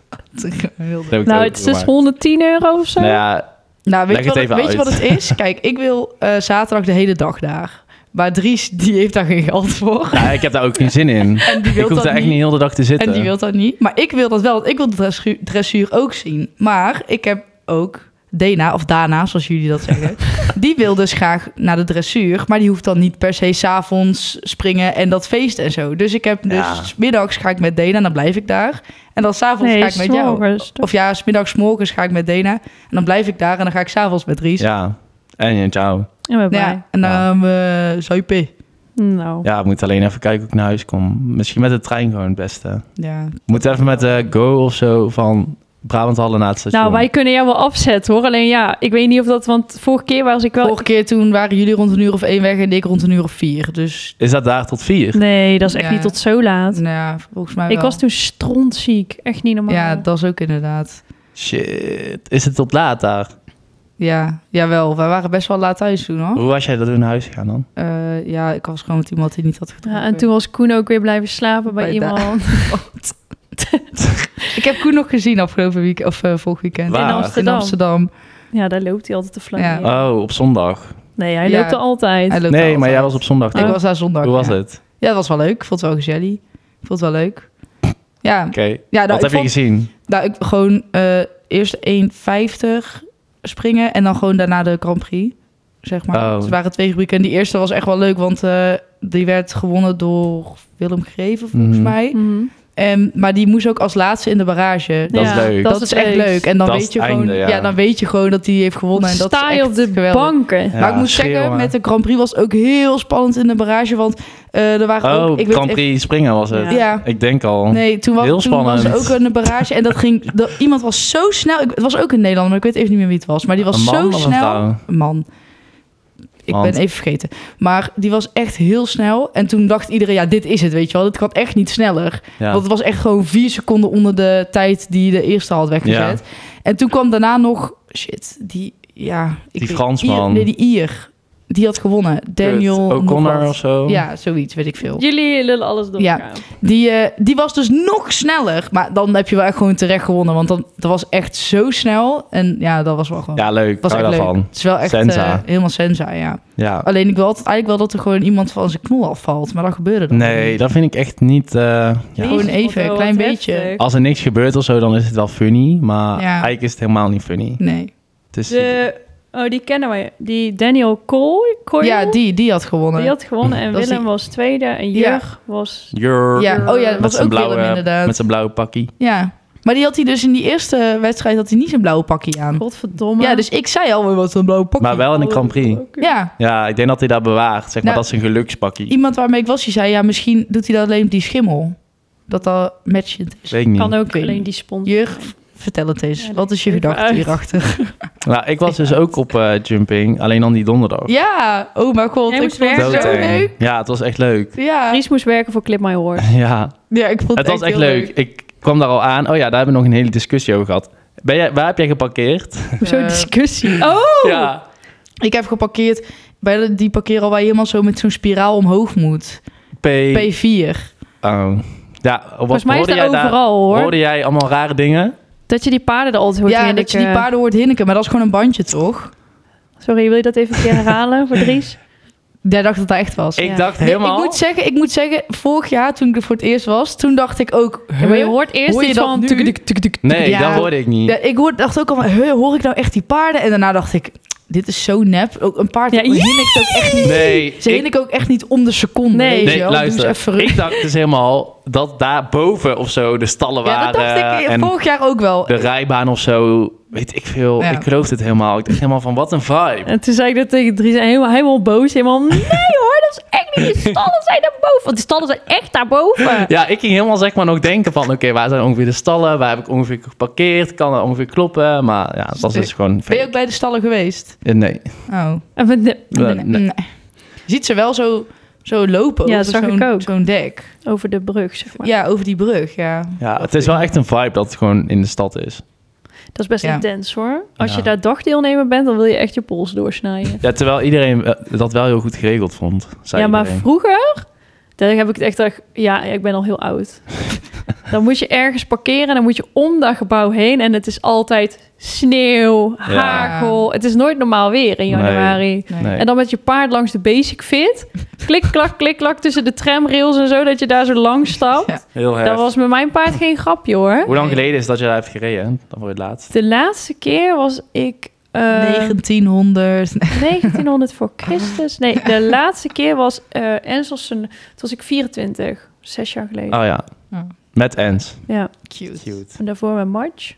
Speaker 3: [laughs] Heel
Speaker 2: Dat
Speaker 3: duur.
Speaker 2: heb ik
Speaker 1: Nou,
Speaker 2: ook
Speaker 1: het is dus
Speaker 2: gemaakt.
Speaker 1: 110 euro of zo.
Speaker 2: Nou ja,
Speaker 3: Nou, weet,
Speaker 2: Leg
Speaker 3: je wat,
Speaker 2: het
Speaker 3: het,
Speaker 2: even
Speaker 3: weet je
Speaker 2: uit.
Speaker 3: wat het
Speaker 2: [laughs]
Speaker 3: is? Kijk, ik wil eh, zaterdag de hele dag daar. Maar Dries, die heeft daar geen geld voor.
Speaker 2: nou, ik heb daar ook geen zin in.
Speaker 3: En die
Speaker 2: Ik
Speaker 3: wil
Speaker 2: hoef
Speaker 3: dat
Speaker 2: daar echt niet
Speaker 3: niet.
Speaker 2: heel de dag te zitten.
Speaker 3: En die wil dat niet. Maar ik wil dat wel. want Ik wil de dressuur, dressuur ook zien. Maar ik heb ook Dena, of Dana, zoals jullie dat
Speaker 2: [laughs]
Speaker 3: zeggen. die wil dus graag naar de dressuur. Maar die hoeft dan niet per se s'avonds springen en dat feest en zo. Dus ik heb dus
Speaker 2: Ja.
Speaker 3: s middags ga ik met Dena en dan blijf ik daar. En dan s'avonds
Speaker 1: nee,
Speaker 3: ga ik met jou.
Speaker 1: s'morgens.
Speaker 3: Of ja, smiddags, 's morgens ga ik met Dena. En dan blijf ik daar en dan ga ik s'avonds met Dries.
Speaker 2: Ja. En ja, ciao.
Speaker 1: En we
Speaker 3: Ja, en dan
Speaker 2: Ja.
Speaker 3: eh, zuipen.
Speaker 1: Nou,
Speaker 2: Ja, ik moet alleen even kijken hoe ik naar huis kom. Misschien met de trein gewoon het beste.
Speaker 3: Ja.
Speaker 2: Moet even met de Go of zo van Brabanthallen naar het station.
Speaker 1: nou wij kunnen jou wel afzetten hoor. Alleen ja, ik weet niet of dat... Want vorige keer was ik wel...
Speaker 3: Vorige keer toen waren jullie rond een uur of één weg en ik rond een uur of vier. Dus
Speaker 2: Is dat daar tot vier?
Speaker 1: Nee, dat is echt
Speaker 3: Ja.
Speaker 1: niet tot zo laat.
Speaker 3: nou ja, volgens mij
Speaker 1: Ik
Speaker 3: wel.
Speaker 1: was toen strontziek. Echt niet normaal.
Speaker 3: Ja, dat is ook inderdaad.
Speaker 2: Shit. Is het tot laat daar?
Speaker 3: Ja, jawel. Wij waren best wel laat thuis toen, hoor.
Speaker 2: Hoe was jij dat toen naar huis gegaan dan?
Speaker 3: Eh, ja, ik was gewoon met iemand die niet had gedronken.
Speaker 1: Ja, en toen was Koen ook weer blijven slapen bij,
Speaker 3: Bij
Speaker 1: [laughs] iemand
Speaker 3: Ik heb Koen nog gezien afgelopen week of eh vorig weekend.
Speaker 2: Waar?
Speaker 1: in
Speaker 2: In
Speaker 1: Amsterdam.
Speaker 3: In Amsterdam.
Speaker 1: Ja, daar loopt hij altijd te flaneren.
Speaker 3: Ja.
Speaker 2: Oh, op zondag.
Speaker 1: Nee, hij
Speaker 3: Ja.
Speaker 1: loopt er altijd.
Speaker 3: Hij loopt
Speaker 2: nee,
Speaker 3: daar
Speaker 2: maar
Speaker 3: altijd.
Speaker 2: jij was op zondag.
Speaker 1: Oh.
Speaker 2: toch?
Speaker 3: Ik was daar zondag.
Speaker 2: Hoe was
Speaker 3: ja.
Speaker 2: het?
Speaker 3: Ja, dat was wel leuk. Ik vond het wel gezellig. Ik vond het wel leuk. Ja,
Speaker 2: Oké.
Speaker 3: ja nou,
Speaker 2: Wat
Speaker 3: ik
Speaker 2: heb je
Speaker 3: vond,
Speaker 2: gezien?
Speaker 3: nou, ik gewoon eh, eerst 1,50 springen en dan gewoon daarna de Grand Prix, zeg maar.
Speaker 2: Oh.
Speaker 3: Dus het waren twee rubrieken. En die eerste was echt wel leuk, want eh, die werd gewonnen door Willem Greven, volgens
Speaker 2: Mhm.
Speaker 3: mij.
Speaker 1: Mhm.
Speaker 3: En, maar die moest ook als laatste in de barrage.
Speaker 2: Dat is leuk.
Speaker 3: Dat,
Speaker 1: het
Speaker 3: is echt
Speaker 1: leuk.
Speaker 3: leuk. En dan
Speaker 2: Dat is
Speaker 3: weet je
Speaker 2: het
Speaker 3: gewoon,
Speaker 2: einde,
Speaker 3: ja.
Speaker 2: ja.
Speaker 3: dan weet je gewoon dat hij heeft gewonnen. En dat
Speaker 1: sta
Speaker 3: is
Speaker 1: je
Speaker 3: echt
Speaker 1: op de
Speaker 3: geweldig.
Speaker 1: banken.
Speaker 2: Ja,
Speaker 3: maar ik moet
Speaker 2: schreeuwen,
Speaker 3: zeggen,
Speaker 2: maar.
Speaker 3: met de Grand Prix was het ook heel spannend in de barrage. Want eh, er waren
Speaker 2: Oh,
Speaker 3: ook... ik weet
Speaker 2: Grand
Speaker 3: even-
Speaker 2: Prix springen was het.
Speaker 1: Ja.
Speaker 3: Ja.
Speaker 2: Ik denk al.
Speaker 3: Nee, toen was,
Speaker 2: Heel
Speaker 3: toen was er ook
Speaker 2: spannend.
Speaker 3: een barrage. En dat
Speaker 2: [laughs]
Speaker 3: ging... dat- iemand was zo snel... Ik, het was ook een Nederlander, maar ik weet even niet meer wie het was. Maar die was
Speaker 2: Een man
Speaker 3: zo
Speaker 2: of een
Speaker 3: snel...
Speaker 2: vrouw?
Speaker 3: Een man. Ik
Speaker 2: Want-
Speaker 3: ben even vergeten. Maar die was echt heel snel. En toen dacht iedereen, ja, dit is het, weet je wel. Dit kan echt niet sneller.
Speaker 2: Ja.
Speaker 3: Want het was echt gewoon vier seconden onder de tijd die de eerste had weggezet. En toen kwam daarna nog, shit, die, ja... ik
Speaker 2: Die
Speaker 3: weet-
Speaker 2: Fransman.
Speaker 3: Ier- nee, die Ier. Die had gewonnen. Daniel
Speaker 2: Kut.
Speaker 3: nog
Speaker 2: O'Connor
Speaker 3: wat.
Speaker 2: of zo.
Speaker 3: Ja, zoiets, weet ik veel.
Speaker 1: Jullie lullen alles door
Speaker 3: Ja.
Speaker 1: elkaar.
Speaker 3: Die, eh, die was dus nog sneller. Maar dan heb je wel echt gewoon terecht gewonnen. Want dan, dat was echt zo snel. En ja, dat was wel gewoon...
Speaker 2: Ja, leuk.
Speaker 3: was
Speaker 2: Hou
Speaker 3: echt
Speaker 2: daarvan.
Speaker 3: leuk. Oh, Het is wel echt
Speaker 2: Senza.
Speaker 3: eh, helemaal senza, ja.
Speaker 2: Ja.
Speaker 3: Alleen ik wil altijd, eigenlijk wel dat er gewoon iemand van zijn knol afvalt. Maar dat gebeurde dan
Speaker 2: Nee,
Speaker 3: niet.
Speaker 2: dat vind ik echt niet... eh, ja.
Speaker 1: Jezus,
Speaker 3: Gewoon even,
Speaker 1: wat
Speaker 3: een klein
Speaker 1: wat
Speaker 3: beetje.
Speaker 1: heftig.
Speaker 2: [laughs] Als er niks gebeurt of zo, dan is het wel funny. Maar
Speaker 3: Ja.
Speaker 2: eigenlijk is het helemaal niet funny.
Speaker 3: Nee.
Speaker 2: Het is,
Speaker 1: De, oh, die kennen wij. Die Daniel Cole, Coyle,
Speaker 3: Ja, die, die had gewonnen.
Speaker 1: die had gewonnen. En
Speaker 3: Dat is
Speaker 1: Willem
Speaker 3: die-
Speaker 1: was tweede. En
Speaker 3: Ja.
Speaker 1: Jurg was...
Speaker 2: Jurr.
Speaker 3: Ja, oh ja, dat
Speaker 2: Met
Speaker 3: was
Speaker 2: zijn
Speaker 3: ook Willem
Speaker 2: blauwe,
Speaker 3: inderdaad.
Speaker 2: met zijn blauwe pakkie.
Speaker 3: Ja, maar die had hij dus in die eerste wedstrijd had hij niet zijn blauwe pakje aan.
Speaker 1: Godverdomme.
Speaker 3: Ja, dus ik zei al, wat een blauwe pakje.
Speaker 2: Maar wel in de Grand Prix.
Speaker 3: Ja,
Speaker 2: Ja, ik denk dat hij dat bewaart. Zeg maar,
Speaker 3: Nou,
Speaker 2: dat is een gelukspakkie.
Speaker 3: iemand waarmee ik was, die zei, ja, misschien doet hij dat alleen op die schimmel. Dat dat matchend is.
Speaker 2: Weet ik niet.
Speaker 1: Kan ook
Speaker 3: Ik weet
Speaker 1: alleen
Speaker 3: niet.
Speaker 1: die sponsor.
Speaker 3: Jurg, vertel het eens.
Speaker 1: Ja,
Speaker 3: Wat is je
Speaker 1: even
Speaker 3: gedachte
Speaker 1: uit.
Speaker 3: hierachter? [laughs]
Speaker 2: Nou, ik was dus ook op eh, jumping, alleen dan die donderdag.
Speaker 3: Ja, oh mijn god,
Speaker 1: Jij
Speaker 3: ik
Speaker 1: moest
Speaker 3: vond het
Speaker 1: werken.
Speaker 3: zo
Speaker 1: Doodeng.
Speaker 3: leuk.
Speaker 2: Ja, het was echt leuk. [laughs]
Speaker 3: Ja.
Speaker 1: Dries moest werken voor Clip My
Speaker 3: [laughs]
Speaker 1: Horse.
Speaker 2: Ja,
Speaker 3: ja, ik vond het,
Speaker 2: het was echt
Speaker 3: heel
Speaker 2: leuk. Ik kwam daar al aan. Oh ja, daar hebben we nog een hele discussie over gehad. Ben jij, waar heb jij geparkeerd?
Speaker 1: Zo'n
Speaker 3: Eh,
Speaker 1: discussie. Oh!
Speaker 2: Ja.
Speaker 3: Ik heb geparkeerd bij de- die parkeer waar je helemaal zo met zo'n spiraal omhoog moet.
Speaker 2: P.
Speaker 3: P4.
Speaker 2: Oh. Ja, wat
Speaker 1: Volgens mij is
Speaker 2: hoorde
Speaker 1: dat
Speaker 2: jij
Speaker 1: overal
Speaker 2: daar?
Speaker 1: hoor.
Speaker 2: Hoorde jij allemaal rare dingen?
Speaker 1: Dat je die paarden er altijd hoort eh,
Speaker 3: ja, dat
Speaker 1: hinniken.
Speaker 3: je die paarden hoort hinniken, maar dat is gewoon een bandje, toch? [laughs]
Speaker 1: Sorry, wil je dat even een keer herhalen voor Dries?
Speaker 3: Jij dacht dat dat echt was.
Speaker 2: Ik
Speaker 1: Ja.
Speaker 2: dacht
Speaker 3: Nee,
Speaker 2: helemaal...
Speaker 3: Ik moet, zeggen, ik moet zeggen, vorig jaar toen ik er voor het eerst was, toen dacht ik ook...
Speaker 1: Ja, maar je
Speaker 3: huh?
Speaker 1: hoort eerst
Speaker 3: Hoor je
Speaker 1: iets
Speaker 3: dat
Speaker 1: van...
Speaker 3: nu?
Speaker 1: tuk, tuk, tuk, tuk, tuk.
Speaker 2: nee,
Speaker 3: Ja.
Speaker 2: dat hoorde ik niet.
Speaker 3: Ja, ik hoor, dacht ook al van, huh, hoor ik nou echt die paarden? En daarna dacht ik, dit is zo nep. Ook een paard
Speaker 1: Ja,
Speaker 3: ja, ik het ook echt niet.
Speaker 2: Nee,
Speaker 3: [laughs] Ze
Speaker 2: ik-
Speaker 3: ik, ik ook echt niet om de seconde.
Speaker 1: Nee.
Speaker 3: weet je
Speaker 2: Nee,
Speaker 3: wel. Doe eens
Speaker 2: luister.
Speaker 3: dus even rustig.
Speaker 2: Ik dacht dus helemaal dat daar boven of zo de stallen
Speaker 3: Ja, dat
Speaker 2: waren.
Speaker 3: dacht ik eh,
Speaker 2: en
Speaker 3: vorig jaar ook wel.
Speaker 2: de rijbaan of zo. Weet ik veel.
Speaker 3: Ja.
Speaker 2: Ik geloof het helemaal. Ik dacht helemaal van wat een vibe.
Speaker 1: En toen zei ik dat tegen Dries, en helemaal, helemaal boos. Helemaal, [laughs] nee hoor, dat is echt niet. Die stallen zijn daarboven. Want die stallen zijn echt daarboven.
Speaker 3: [laughs]
Speaker 2: Ja, ik ging helemaal zeg maar nog denken van... Oké, waar zijn ongeveer de stallen? Waar heb ik ongeveer geparkeerd? Kan dat ongeveer kloppen? Maar ja, dat was dus gewoon...
Speaker 3: Ben je ook bij de stallen geweest?
Speaker 2: Eh, Nee.
Speaker 3: Oh.
Speaker 1: En we- de-
Speaker 2: Nee,
Speaker 3: nee.
Speaker 2: nee.
Speaker 3: Je ziet ze wel zo, zo lopen
Speaker 1: Ja,
Speaker 3: over
Speaker 1: zag
Speaker 3: zo'n,
Speaker 1: ik ook.
Speaker 3: zo'n dek.
Speaker 1: Over de brug, zeg maar.
Speaker 3: Ja, over die brug, ja.
Speaker 2: Ja, het is wel echt een vibe dat het gewoon in de stad is.
Speaker 1: Dat is best
Speaker 3: Ja.
Speaker 1: intens hoor. Als je
Speaker 2: Ja.
Speaker 1: daar dagdeelnemer bent, dan wil je echt je pols doorsnijden.
Speaker 2: Nou. [laughs] Ja, terwijl iedereen eh, dat wel heel goed geregeld vond. Zei
Speaker 1: ja, maar
Speaker 2: iedereen.
Speaker 1: vroeger, daar heb ik het echt echt... Ja, ik ben al heel
Speaker 2: [laughs]
Speaker 1: oud. dan moet je ergens parkeren en dan moet je om dat gebouw heen. En het is altijd sneeuw, hagel. Het is nooit normaal weer in
Speaker 2: Nee.
Speaker 1: januari.
Speaker 3: Nee.
Speaker 2: Nee.
Speaker 1: En dan met je paard langs de basic fit. Klik, klak, klik, klak tussen de tramrails en zo, dat je daar zo langs stapt.
Speaker 3: Ja.
Speaker 2: Heel
Speaker 1: Dat
Speaker 2: heftig.
Speaker 1: was met mijn paard geen grapje hoor.
Speaker 2: Hoe lang geleden is dat je daar hebt gereden? Dan voor het laatst.
Speaker 1: De laatste keer was ik... eh,
Speaker 3: 1900. [laughs]
Speaker 1: 1900 voor Christus. Nee, de laatste keer was eh Enselsen. Toen was ik 24, zes jaar geleden.
Speaker 2: Oh ja.
Speaker 3: Ja.
Speaker 2: Met Ens.
Speaker 1: Ja,
Speaker 3: Cute.
Speaker 1: en daarvoor met March.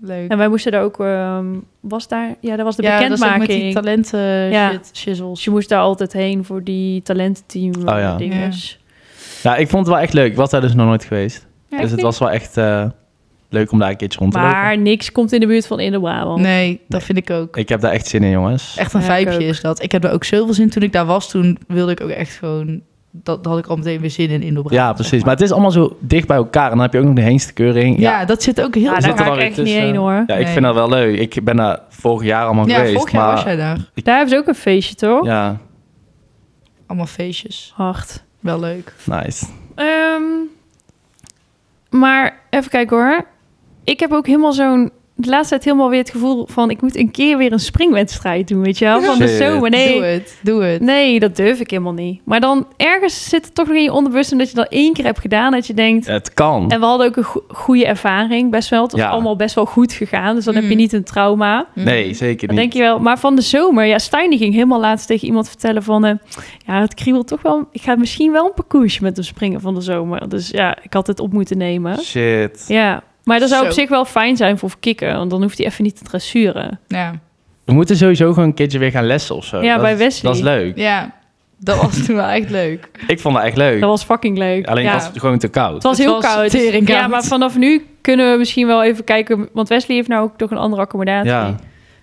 Speaker 3: Leuk.
Speaker 1: En wij moesten daar ook. ehm, was daar? Ja, dat was de
Speaker 3: ja, dat is ook met die
Speaker 1: bekendmaking.
Speaker 3: talenten
Speaker 1: Ja.
Speaker 3: shit, shizzles.
Speaker 1: dus je moest daar altijd heen voor die talententeam oh,
Speaker 2: Ah, ja.
Speaker 1: ja. dinges.
Speaker 2: Ja, ik vond het wel echt leuk. Ik was daar dus nog nooit geweest. dus het
Speaker 1: niet.
Speaker 2: was wel echt eh, leuk om daar een keertje rond te lopen.
Speaker 1: Maar niks komt in de buurt van in de Brabant.
Speaker 3: Nee, dat vind ik ook.
Speaker 2: Ik heb daar echt zin in, jongens.
Speaker 3: Echt een
Speaker 1: Ja, ik
Speaker 3: vijpje
Speaker 1: ook.
Speaker 3: is dat. Ik heb er ook zoveel zin toen ik daar was. Toen wilde ik ook echt gewoon... Dat, dat had ik al meteen weer zin in in Brabant.
Speaker 2: Ja, precies. Maar het is allemaal zo dicht bij elkaar. En dan heb je ook nog de heensterkeuring.
Speaker 3: ja.
Speaker 2: Ja,
Speaker 3: dat zit ook heel...
Speaker 1: Ja,
Speaker 2: zit
Speaker 1: daar
Speaker 2: er dan
Speaker 1: ga ik
Speaker 2: weer
Speaker 1: echt niet
Speaker 2: tussen.
Speaker 1: heen hoor.
Speaker 2: ja ik
Speaker 3: Nee.
Speaker 2: vind dat wel leuk. Ik ben daar vorig jaar allemaal
Speaker 3: ja,
Speaker 2: geweest.
Speaker 3: vorig jaar
Speaker 2: maar,
Speaker 3: was jij daar.
Speaker 1: Daar hebben ze ook een feestje toch?
Speaker 2: Ja,
Speaker 3: Allemaal feestjes.
Speaker 1: Hard.
Speaker 3: Wel leuk.
Speaker 2: nice.
Speaker 1: Ehm, maar even kijken hoor. Ik heb ook helemaal zo'n... De laatste tijd helemaal weer het gevoel van... ik moet een keer weer een springwedstrijd doen, weet je wel? Van de
Speaker 2: Shit.
Speaker 1: zomer.
Speaker 3: Doe
Speaker 1: Nee,
Speaker 3: het. Doe het.
Speaker 1: nee, dat durf ik helemaal niet. Maar dan ergens zit het toch nog in je onderbewustzijn... dat je dat één keer hebt gedaan, dat je denkt...
Speaker 2: Het kan.
Speaker 1: En we hadden ook een go- goede ervaring, best wel. Het was
Speaker 2: Ja.
Speaker 1: allemaal best wel goed gegaan. Dus dan heb je
Speaker 3: Mm.
Speaker 1: niet een trauma.
Speaker 2: Nee, zeker
Speaker 1: Dan
Speaker 2: niet.
Speaker 1: denk je wel, maar van de zomer, ja, Stijn die ging helemaal laatst tegen iemand vertellen van, eh, ja, het kriebelt toch wel, ik ga misschien wel een parcoursje met hem springen van de zomer. Dus ja, ik had het op moeten nemen.
Speaker 2: Shit.
Speaker 1: Ja, maar dat zou
Speaker 3: Zo.
Speaker 1: op zich wel fijn zijn voor kikken, want dan hoeft hij even niet te dressuren.
Speaker 3: Ja.
Speaker 2: We moeten sowieso gewoon een keertje weer gaan lessen of zo.
Speaker 1: Ja,
Speaker 2: Dat
Speaker 1: bij
Speaker 2: is-
Speaker 1: Wesley.
Speaker 2: Dat is leuk.
Speaker 3: ja, dat was toen wel echt leuk.
Speaker 2: Ik vond dat echt leuk.
Speaker 1: Dat was fucking leuk.
Speaker 2: Alleen
Speaker 1: ja.
Speaker 2: was het gewoon te koud.
Speaker 1: het was
Speaker 3: Het
Speaker 1: heel
Speaker 3: was
Speaker 1: koud.
Speaker 3: tering
Speaker 1: Ja,
Speaker 3: koud.
Speaker 1: maar vanaf nu kunnen we misschien wel even kijken, want Wesley heeft nou ook toch een andere accommodatie.
Speaker 2: Ja,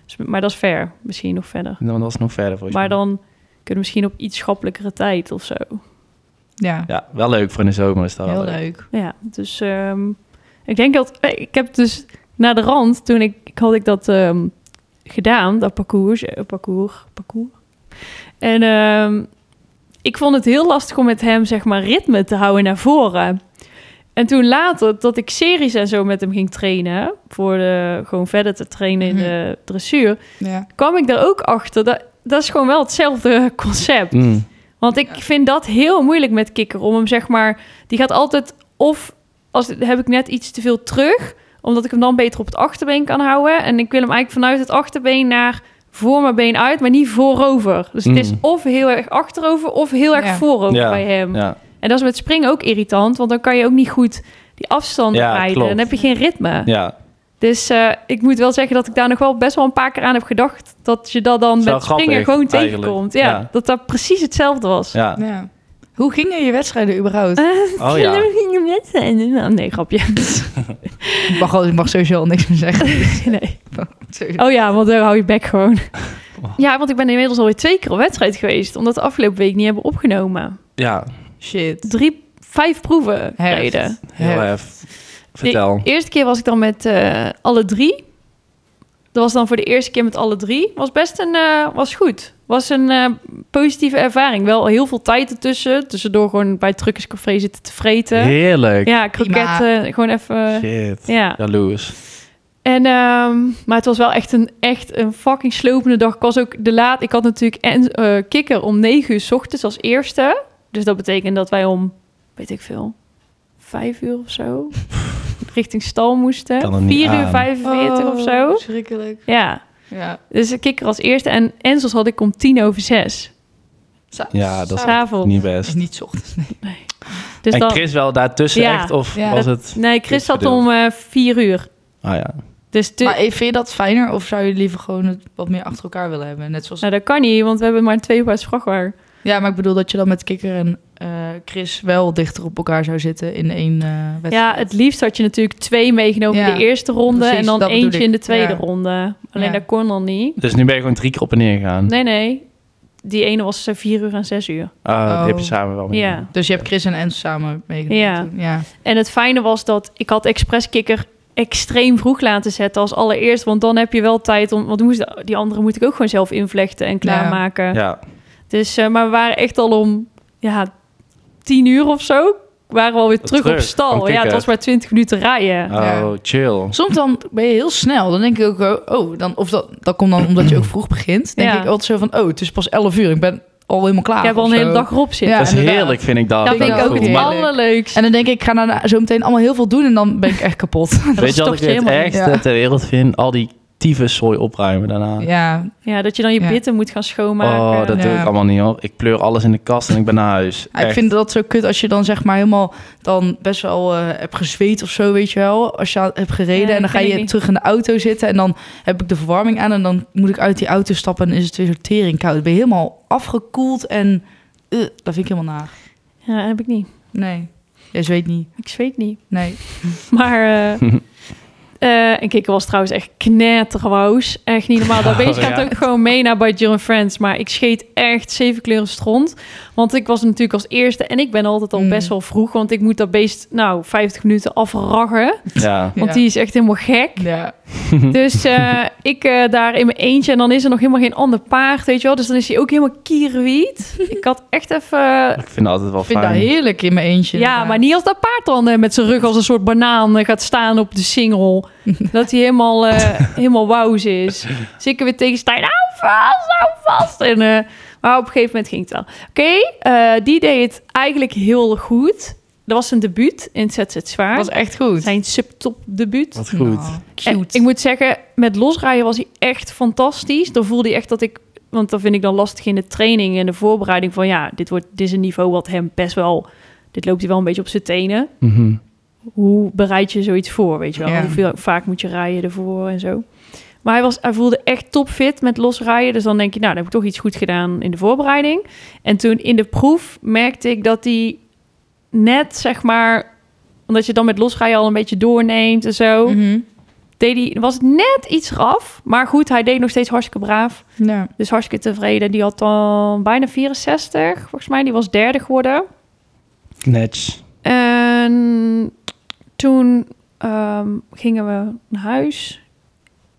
Speaker 1: Dus- maar dat is ver, misschien nog verder.
Speaker 2: dan was het nog verder volgens
Speaker 1: Maar
Speaker 2: mij.
Speaker 1: dan kunnen we misschien op iets schappelijkere tijd of zo.
Speaker 3: Ja,
Speaker 2: Ja, wel leuk voor in de zomer is dat wel
Speaker 3: heel
Speaker 2: leuk.
Speaker 3: leuk.
Speaker 1: Ja, dus ehm, ik denk dat... Ik heb dus naar de rand, toen ik... ik had ik dat ehm, gedaan, dat parcours. eh, parcours, parcours. En ehm, ik vond het heel lastig om met hem, zeg maar, ritme te houden naar voren. En toen later, dat ik series en zo met hem ging trainen... voor de, gewoon verder te trainen in de dressuur...
Speaker 3: Ja.
Speaker 1: kwam ik er ook achter dat... Dat is gewoon wel hetzelfde [laughs] concept.
Speaker 2: Mm.
Speaker 1: Want ik vind dat heel moeilijk met kikker. Om hem zeg maar... Die gaat altijd of... Als, heb ik net iets te veel terug. Omdat ik hem dan beter op het achterbeen kan houden. En ik wil hem eigenlijk vanuit het achterbeen naar voor mijn been uit. Maar niet voorover. Dus het is
Speaker 2: Mm.
Speaker 1: of heel erg achterover of heel erg
Speaker 3: Ja.
Speaker 1: voorover
Speaker 2: Ja,
Speaker 1: bij hem.
Speaker 2: Ja.
Speaker 1: En dat is met springen ook irritant. Want dan kan je ook niet goed die afstand
Speaker 2: Ja,
Speaker 1: rijden.
Speaker 2: klopt.
Speaker 1: Dan heb je geen ritme.
Speaker 2: ja,
Speaker 1: Dus eh, ik moet wel zeggen dat ik daar nog wel best wel een paar keer aan heb gedacht. Dat je dat dan
Speaker 2: Is wel
Speaker 1: met springen
Speaker 2: grappig,
Speaker 1: gewoon
Speaker 2: eigenlijk.
Speaker 1: tegenkomt. Ja,
Speaker 2: Ja.
Speaker 1: Dat dat precies hetzelfde was.
Speaker 2: ja.
Speaker 3: Ja. Hoe gingen je wedstrijden
Speaker 1: [laughs]
Speaker 3: überhaupt?
Speaker 1: Eh,
Speaker 2: Oh ja.
Speaker 1: Nou, Nee, grapje.
Speaker 2: [laughs]
Speaker 3: Ik mag, al- ik mag sowieso al niks meer zeggen.
Speaker 1: [laughs] nee.
Speaker 3: Sorry.
Speaker 1: Oh ja, want dan hou je bek gewoon.
Speaker 2: Oh.
Speaker 1: Ja, want ik ben inmiddels alweer twee keer op wedstrijd geweest. Omdat we de afgelopen week niet hebben opgenomen.
Speaker 2: Ja,
Speaker 3: Shit.
Speaker 1: Drie, vijf proeven
Speaker 3: Heft.
Speaker 1: reden.
Speaker 2: heel
Speaker 3: Heft.
Speaker 2: even. Vertel.
Speaker 1: De eerste keer was ik dan met eh, alle drie. Dat was dan voor de eerste keer met alle drie. Was best een... eh, was goed. Was een eh, positieve ervaring. Wel heel veel tijd ertussen. Tussendoor gewoon bij het Truckerscafé zitten te vreten.
Speaker 2: Heerlijk.
Speaker 1: eh, Ja, kroketten. Gewoon even...
Speaker 2: Shit.
Speaker 1: Ja.
Speaker 2: Jaloers.
Speaker 1: En, ehm, maar het was wel echt een, echt een fucking slopende dag. Ik was ook de laat. Ik had natuurlijk en, eh, kikker om 9 uur 's ochtends als eerste. Dus dat betekent dat wij om, weet ik veel, 5 uur of
Speaker 2: [laughs]
Speaker 1: zo richting stal moesten.
Speaker 2: Kan er niet
Speaker 1: 4 uur
Speaker 2: aan.
Speaker 1: 45 of zo.
Speaker 3: Schrikkelijk.
Speaker 1: Ja,
Speaker 3: Oh, Ja.
Speaker 1: dus de kikker als eerste. En Enzels had ik om 10 over 6.
Speaker 3: Sa-
Speaker 2: Ja, dat is-
Speaker 3: sa-
Speaker 1: S'avonds.
Speaker 2: Niet
Speaker 3: is
Speaker 2: best.
Speaker 3: niet 's ochtends. Nee.
Speaker 1: Dus
Speaker 2: en
Speaker 1: dan,
Speaker 2: Chris wel daartussen
Speaker 1: Ja.
Speaker 2: echt? Of
Speaker 3: Ja.
Speaker 2: was het...
Speaker 1: nee, Chris
Speaker 2: Chris
Speaker 1: zat
Speaker 2: verdeeld.
Speaker 1: om eh 4 uur.
Speaker 2: Ah ja.
Speaker 1: Dus te-
Speaker 3: Maar eh, vind je dat fijner of zou je liever gewoon het wat meer achter elkaar willen hebben? Net zoals...
Speaker 1: nou, dat kan niet, want we hebben maar twee paars vrachtwagen.
Speaker 3: Ja, maar ik bedoel dat je dan met Kikker en eh, Chris wel dichter op elkaar zou zitten in één eh, wedstrijd.
Speaker 1: Ja, het liefst had je natuurlijk twee meegenomen
Speaker 3: Ja,
Speaker 1: in de eerste ronde
Speaker 3: precies,
Speaker 1: en dan
Speaker 3: dat bedoel
Speaker 1: eentje
Speaker 3: ik.
Speaker 1: in de tweede
Speaker 3: Ja.
Speaker 1: ronde. Alleen
Speaker 3: Ja.
Speaker 1: dat kon dan niet.
Speaker 2: Dus nu ben je gewoon drie keer op en neer
Speaker 3: Hm.
Speaker 2: gegaan.
Speaker 1: Nee, nee. Die ene was eh, vier uur en zes uur.
Speaker 2: Ah,
Speaker 3: Oh.
Speaker 2: Die heb je samen wel mee.
Speaker 1: Ja.
Speaker 3: Dus je hebt Chris en Enzo samen meegenomen.
Speaker 1: Ja.
Speaker 3: toen. ja.
Speaker 1: En het fijne was dat ik had Express Kikker extreem vroeg laten zetten als allereerst. Want dan heb je wel tijd om... Want moest, die andere moet ik ook gewoon zelf invlechten en klaarmaken.
Speaker 2: Ja.
Speaker 1: Dus, eh, maar we waren echt al om ja, tien uur of zo... waren we alweer terug,
Speaker 2: Terug,
Speaker 1: op stal.
Speaker 2: van
Speaker 1: Ja, het
Speaker 2: Kikker.
Speaker 1: was maar twintig minuten rijden.
Speaker 3: Ja.
Speaker 2: Oh, chill.
Speaker 3: Soms dan ben je heel snel. Dan denk ik ook, oh, oh, dan, of dat, dat komt dan omdat je ook vroeg begint. Denk
Speaker 1: Ja.
Speaker 3: ik altijd zo van, oh, het is pas 11 uur. Ik ben al helemaal klaar.
Speaker 1: ik heb al
Speaker 3: Ah, of
Speaker 1: een hele
Speaker 3: zo.
Speaker 1: dag erop zitten.
Speaker 3: Ja,
Speaker 2: dat is
Speaker 3: inderdaad.
Speaker 2: heerlijk, vind ik dat.
Speaker 1: dat
Speaker 3: ik
Speaker 1: vind ik
Speaker 3: dat
Speaker 1: ook
Speaker 2: goed.
Speaker 1: het
Speaker 3: heerlijk.
Speaker 2: Maar
Speaker 1: allerleukst.
Speaker 3: En dan denk ik, ik ga daarna zo meteen allemaal heel veel doen. En dan ben ik echt kapot.
Speaker 1: dat
Speaker 2: Weet je wat
Speaker 1: stopt
Speaker 2: ik
Speaker 1: je
Speaker 2: het
Speaker 1: helemaal
Speaker 2: ergste
Speaker 3: Ja.
Speaker 2: ter wereld vind? Al die tyfuszooi opruimen daarna.
Speaker 3: ja,
Speaker 1: Ja, dat je dan je
Speaker 3: Ja.
Speaker 1: bitten moet gaan schoonmaken.
Speaker 2: Oh, dat doe
Speaker 3: Ja.
Speaker 2: ik allemaal niet hoor. Ik pleur alles in de kast en ik ben naar
Speaker 1: Ah,
Speaker 2: huis.
Speaker 3: Ja, ik
Speaker 2: Echt.
Speaker 3: vind dat zo kut als je dan zeg maar helemaal dan best wel eh, hebt gezweet of zo, weet je wel. Als je aan- hebt gereden
Speaker 1: Ja,
Speaker 3: en dan
Speaker 1: dat
Speaker 3: ga
Speaker 1: ken ik
Speaker 3: je
Speaker 1: niet.
Speaker 3: terug in de auto zitten en dan heb ik de verwarming aan en dan moet ik uit die auto stappen en is het weer zo tering koud. Ben je helemaal afgekoeld en eh, dat vind ik helemaal naar.
Speaker 1: Ja, dat heb ik niet.
Speaker 3: Nee, jij zweet niet.
Speaker 1: Ik zweet niet.
Speaker 3: Nee.
Speaker 1: Maar...
Speaker 2: [laughs]
Speaker 1: eh, eh, en Kikker was trouwens echt knetterwoos. Echt niet normaal. Dat
Speaker 2: [laughs] Oh,
Speaker 1: beest gaat
Speaker 2: ja.
Speaker 1: ook gewoon mee naar bij Jill and Friends. Maar ik scheet echt zeven kleuren stront. Want ik was natuurlijk als eerste. En ik ben altijd al
Speaker 3: Mm.
Speaker 1: best wel vroeg. Want ik moet dat beest nou 50 minuten afraggen.
Speaker 2: Ja.
Speaker 1: Want
Speaker 3: Ja.
Speaker 1: die is echt helemaal gek.
Speaker 3: Ja.
Speaker 1: Dus eh, ik eh, daar in mijn eentje. En dan is er nog helemaal geen ander paard, weet je wel. Dus dan is hij ook helemaal kierwiet.
Speaker 2: [laughs]
Speaker 1: Ik had echt even...
Speaker 2: [laughs] Ik vind dat altijd wel
Speaker 3: Ik vind dat
Speaker 2: fijn.
Speaker 3: heerlijk in mijn eentje.
Speaker 1: Ja, maar niet als dat paard dan eh, met zijn rug als een soort banaan eh, gaat staan op de
Speaker 3: [laughs]
Speaker 1: single. dat hij helemaal, eh helemaal wauws is. Dus ik weer tegen Stijn, hou vast, hou vast. En, eh, maar op een gegeven moment ging het wel. Oké, eh, die deed het eigenlijk heel goed. Dat was zijn debuut in het ZZ Zwaar.
Speaker 3: Dat was echt goed.
Speaker 1: zijn subtop debuut.
Speaker 2: Wat goed.
Speaker 3: Nou,
Speaker 1: En
Speaker 3: cute.
Speaker 1: Eh, ik moet zeggen, met losrijden was hij echt fantastisch. Dan voelde hij echt dat ik... Want dat vind ik dan lastig in de training en de voorbereiding. Van ja, dit, wordt, dit is een niveau wat hem best wel... Dit loopt hij wel een beetje op zijn tenen.
Speaker 3: Nou.
Speaker 2: Mhm.
Speaker 1: Hoe bereid je zoiets voor, weet je wel?
Speaker 3: Ja.
Speaker 1: Hoeveel vaak moet je rijden ervoor en zo. Maar hij, was, hij voelde echt topfit met losrijden. Dus dan denk je, nou, dan heb ik toch iets goed gedaan in de voorbereiding. En toen in de proef merkte ik dat hij net, zeg maar... Omdat je dan met losrijden al een beetje doorneemt en zo
Speaker 3: Mhm.
Speaker 1: deed hij, was het net iets raf. Maar goed, hij deed nog steeds hartstikke braaf.
Speaker 3: Ja.
Speaker 1: Dus hartstikke tevreden. Die had dan bijna 64, volgens mij. Die was derde geworden.
Speaker 2: Netjes.
Speaker 1: En toen ehm, gingen we naar huis.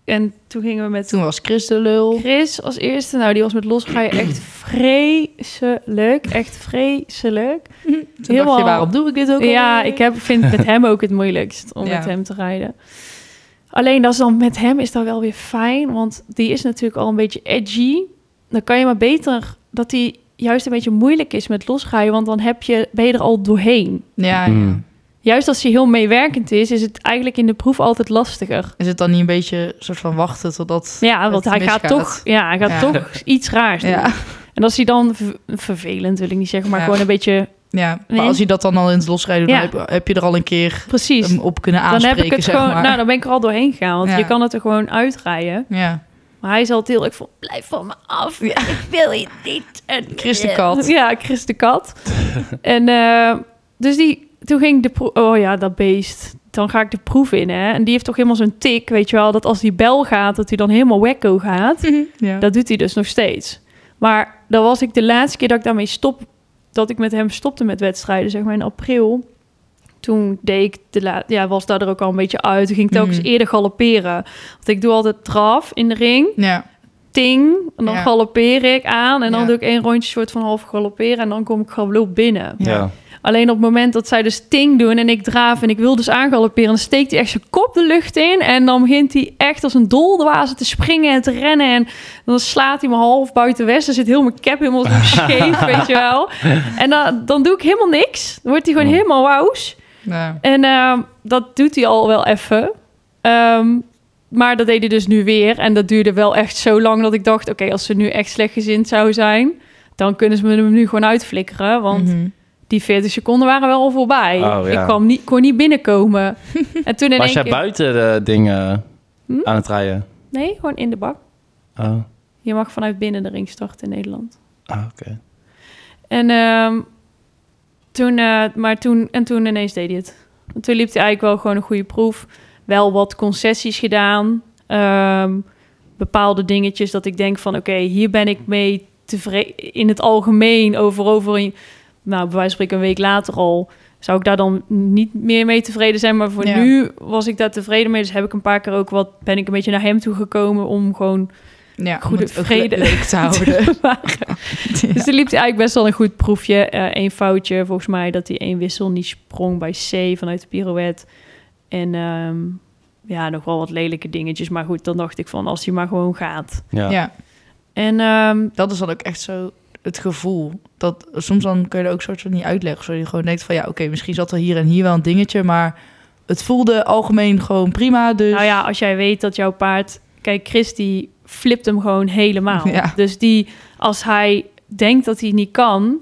Speaker 1: En toen gingen we met
Speaker 3: Toen was Chris de lul.
Speaker 1: Chris als eerste. Nou, die was met losrijden echt vreselijk. Echt vreselijk.
Speaker 3: Toen dacht
Speaker 1: Helemaal-
Speaker 3: je, waarom doe ik dit ook
Speaker 1: Ja,
Speaker 3: alweer?
Speaker 1: ik heb, vind het met hem ook het moeilijkst om
Speaker 3: Ja.
Speaker 1: met hem te rijden. Alleen dat is dan met hem is dat wel weer fijn, want die is natuurlijk al een beetje edgy. Dan kan je maar beter dat hij juist een beetje moeilijk is met losrijden, want dan heb je, ben je er al doorheen.
Speaker 3: Ja, ja.
Speaker 2: Mm.
Speaker 1: Juist als hij heel meewerkend is, is het eigenlijk in de proef altijd lastiger.
Speaker 3: Is het dan niet een beetje een soort van wachten totdat...
Speaker 1: Ja, want
Speaker 3: het
Speaker 1: hij gaat,
Speaker 3: misgaat.
Speaker 1: toch, ja, hij gaat
Speaker 3: Ja.
Speaker 1: toch iets raars doen.
Speaker 3: Ja,
Speaker 1: En als hij dan, ver- vervelend wil ik niet zeggen, maar
Speaker 3: Ja.
Speaker 1: gewoon een beetje,
Speaker 3: ja.
Speaker 1: Nee.
Speaker 3: maar als je dat dan al in het losrijden doet,
Speaker 1: Ja.
Speaker 3: dan heb, heb je er al een keer
Speaker 1: precies.
Speaker 3: hem op kunnen
Speaker 1: Dan
Speaker 3: aanspreken,
Speaker 1: heb ik het
Speaker 3: zeg
Speaker 1: gewoon,
Speaker 3: maar.
Speaker 1: nou dan ben ik er al doorheen gegaan, want
Speaker 3: Ja.
Speaker 1: je kan het er gewoon uitrijden.
Speaker 3: ja.
Speaker 1: Maar hij is altijd heel erg van, blijf van me af. Ik wil je niet. En,
Speaker 3: Chris de
Speaker 1: [laughs]
Speaker 3: kat.
Speaker 1: Ja, Chris de kat.
Speaker 3: [laughs]
Speaker 1: en eh, dus die, toen ging de proef... Oh ja, dat beest. Dan ga ik de proef in, hè. En die heeft toch helemaal zo'n tik, weet je wel. Dat als die bel gaat, dat hij dan helemaal wekko gaat.
Speaker 3: ja.
Speaker 1: Dat doet hij dus nog steeds. Maar dan was ik de laatste keer dat ik daarmee stop... Dat ik met hem stopte met wedstrijden, zeg maar in april. Toen deed ik de la- ja, was daar er ook al een beetje uit. Toen ging ik telkens
Speaker 3: Mhm.
Speaker 1: eerder galopperen. Want ik doe altijd draf in de ring
Speaker 3: ja.
Speaker 1: ting. En dan
Speaker 3: Ja.
Speaker 1: galoppeer ik aan. En dan
Speaker 3: Ja.
Speaker 1: doe ik één rondje soort van half galopperen. En dan kom ik gewoon binnen.
Speaker 2: Ja.
Speaker 3: Ja.
Speaker 1: Alleen op het moment dat zij dus ting doen en ik draaf en ik wil dus aangalopperen, dan steekt hij echt zijn kop de lucht in. En dan begint hij echt als een doldwaze te springen en te rennen. En dan slaat hij me half buiten west. Dan zit heel mijn cap helemaal zo scheef, weet je wel. En dan, dan doe ik helemaal niks. Dan wordt hij gewoon
Speaker 2: Ja.
Speaker 1: helemaal wauws.
Speaker 3: Ja.
Speaker 1: En ehm, dat doet hij al wel even. Ehm, maar dat deed hij dus nu weer. En dat duurde wel echt zo lang dat ik dacht... oké, als ze nu echt slechtgezind zou zijn... dan kunnen ze me hem nu gewoon uitflikkeren. Want
Speaker 3: Mhm.
Speaker 1: die 40 seconden waren wel al voorbij.
Speaker 2: Oh, ja.
Speaker 1: Ik kwam niet, kon niet
Speaker 2: [laughs]
Speaker 1: binnenkomen. en toen in
Speaker 2: Was
Speaker 1: één
Speaker 2: jij
Speaker 1: keer...
Speaker 2: buiten de dingen
Speaker 1: Hm?
Speaker 2: aan het rijden?
Speaker 1: Nee, gewoon in de bak.
Speaker 2: Oh,
Speaker 1: Je mag vanuit binnen de ring starten in Nederland.
Speaker 2: ah, oké.
Speaker 1: En ehm, toen, eh, maar toen, en toen ineens deed hij het. En toen liep hij eigenlijk wel gewoon een goede proef. Wel wat concessies gedaan. Ehm, bepaalde dingetjes dat ik denk van... oké, hier ben ik mee tevreden. In het algemeen over, over een, nou, bij wijze van spreken een week later al... zou ik daar dan niet meer mee tevreden zijn. Maar voor
Speaker 3: Ja.
Speaker 1: nu was ik daar tevreden mee. Dus heb ik een paar keer ook wat... ben ik een beetje naar hem toe gekomen om gewoon...
Speaker 3: Ja,
Speaker 1: Goede
Speaker 3: om het ook
Speaker 1: vrede.
Speaker 3: le- leuk te
Speaker 1: [laughs] te
Speaker 3: houden.
Speaker 1: bewaren. Dus
Speaker 3: Ja.
Speaker 1: toen liep hij eigenlijk best wel een goed proefje. Eén foutje, volgens mij, dat hij één wissel niet sprong bij C vanuit de pirouette. En ehm, ja, nog wel wat lelijke dingetjes. Maar goed, dan dacht ik van, als hij maar gewoon gaat.
Speaker 2: Ja.
Speaker 3: ja,
Speaker 1: En ehm,
Speaker 3: dat is dan ook echt zo het gevoel. Dat soms dan kun je er ook soort van niet uitleggen. Zodat je gewoon denkt van ja, oké, misschien zat er hier en hier wel een dingetje, maar het voelde algemeen gewoon prima. Dus
Speaker 1: nou ja, als jij weet dat jouw paard... Kijk, Chris die flipt hem gewoon helemaal.
Speaker 3: Ja.
Speaker 1: Dus die, als hij denkt dat hij niet kan,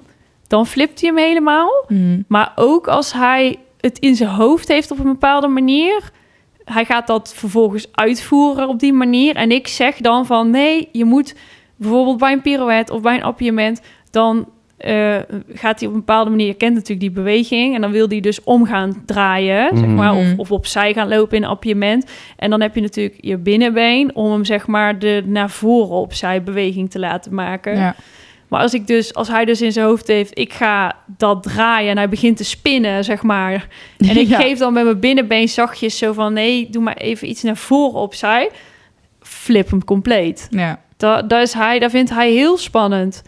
Speaker 1: dan flipt hij hem helemaal.
Speaker 3: Mhm.
Speaker 1: Maar ook als hij het in zijn hoofd heeft op een bepaalde manier. Hij gaat dat vervolgens uitvoeren op die manier. En ik zeg dan van nee, je moet bijvoorbeeld bij een pirouette of bij een appiëment. Dan eh, gaat hij op een bepaalde manier, je kent natuurlijk die beweging. En dan wil hij dus om gaan draaien, zeg
Speaker 2: Mhm.
Speaker 1: maar. Of,
Speaker 3: Mhm.
Speaker 1: of opzij gaan lopen in een appiëment. En dan heb je natuurlijk je binnenbeen om hem zeg maar de naar voren opzij beweging te laten maken.
Speaker 3: ja.
Speaker 1: Maar als, ik dus, als hij dus in zijn hoofd heeft, ik ga dat draaien en hij begint te spinnen, zeg maar. En ik
Speaker 3: Ja.
Speaker 1: geef dan met mijn binnenbeen zachtjes zo van, nee, doe maar even iets naar voren opzij. Flip hem compleet.
Speaker 3: Ja.
Speaker 1: Dat, dat, is hij, dat vindt hij heel spannend.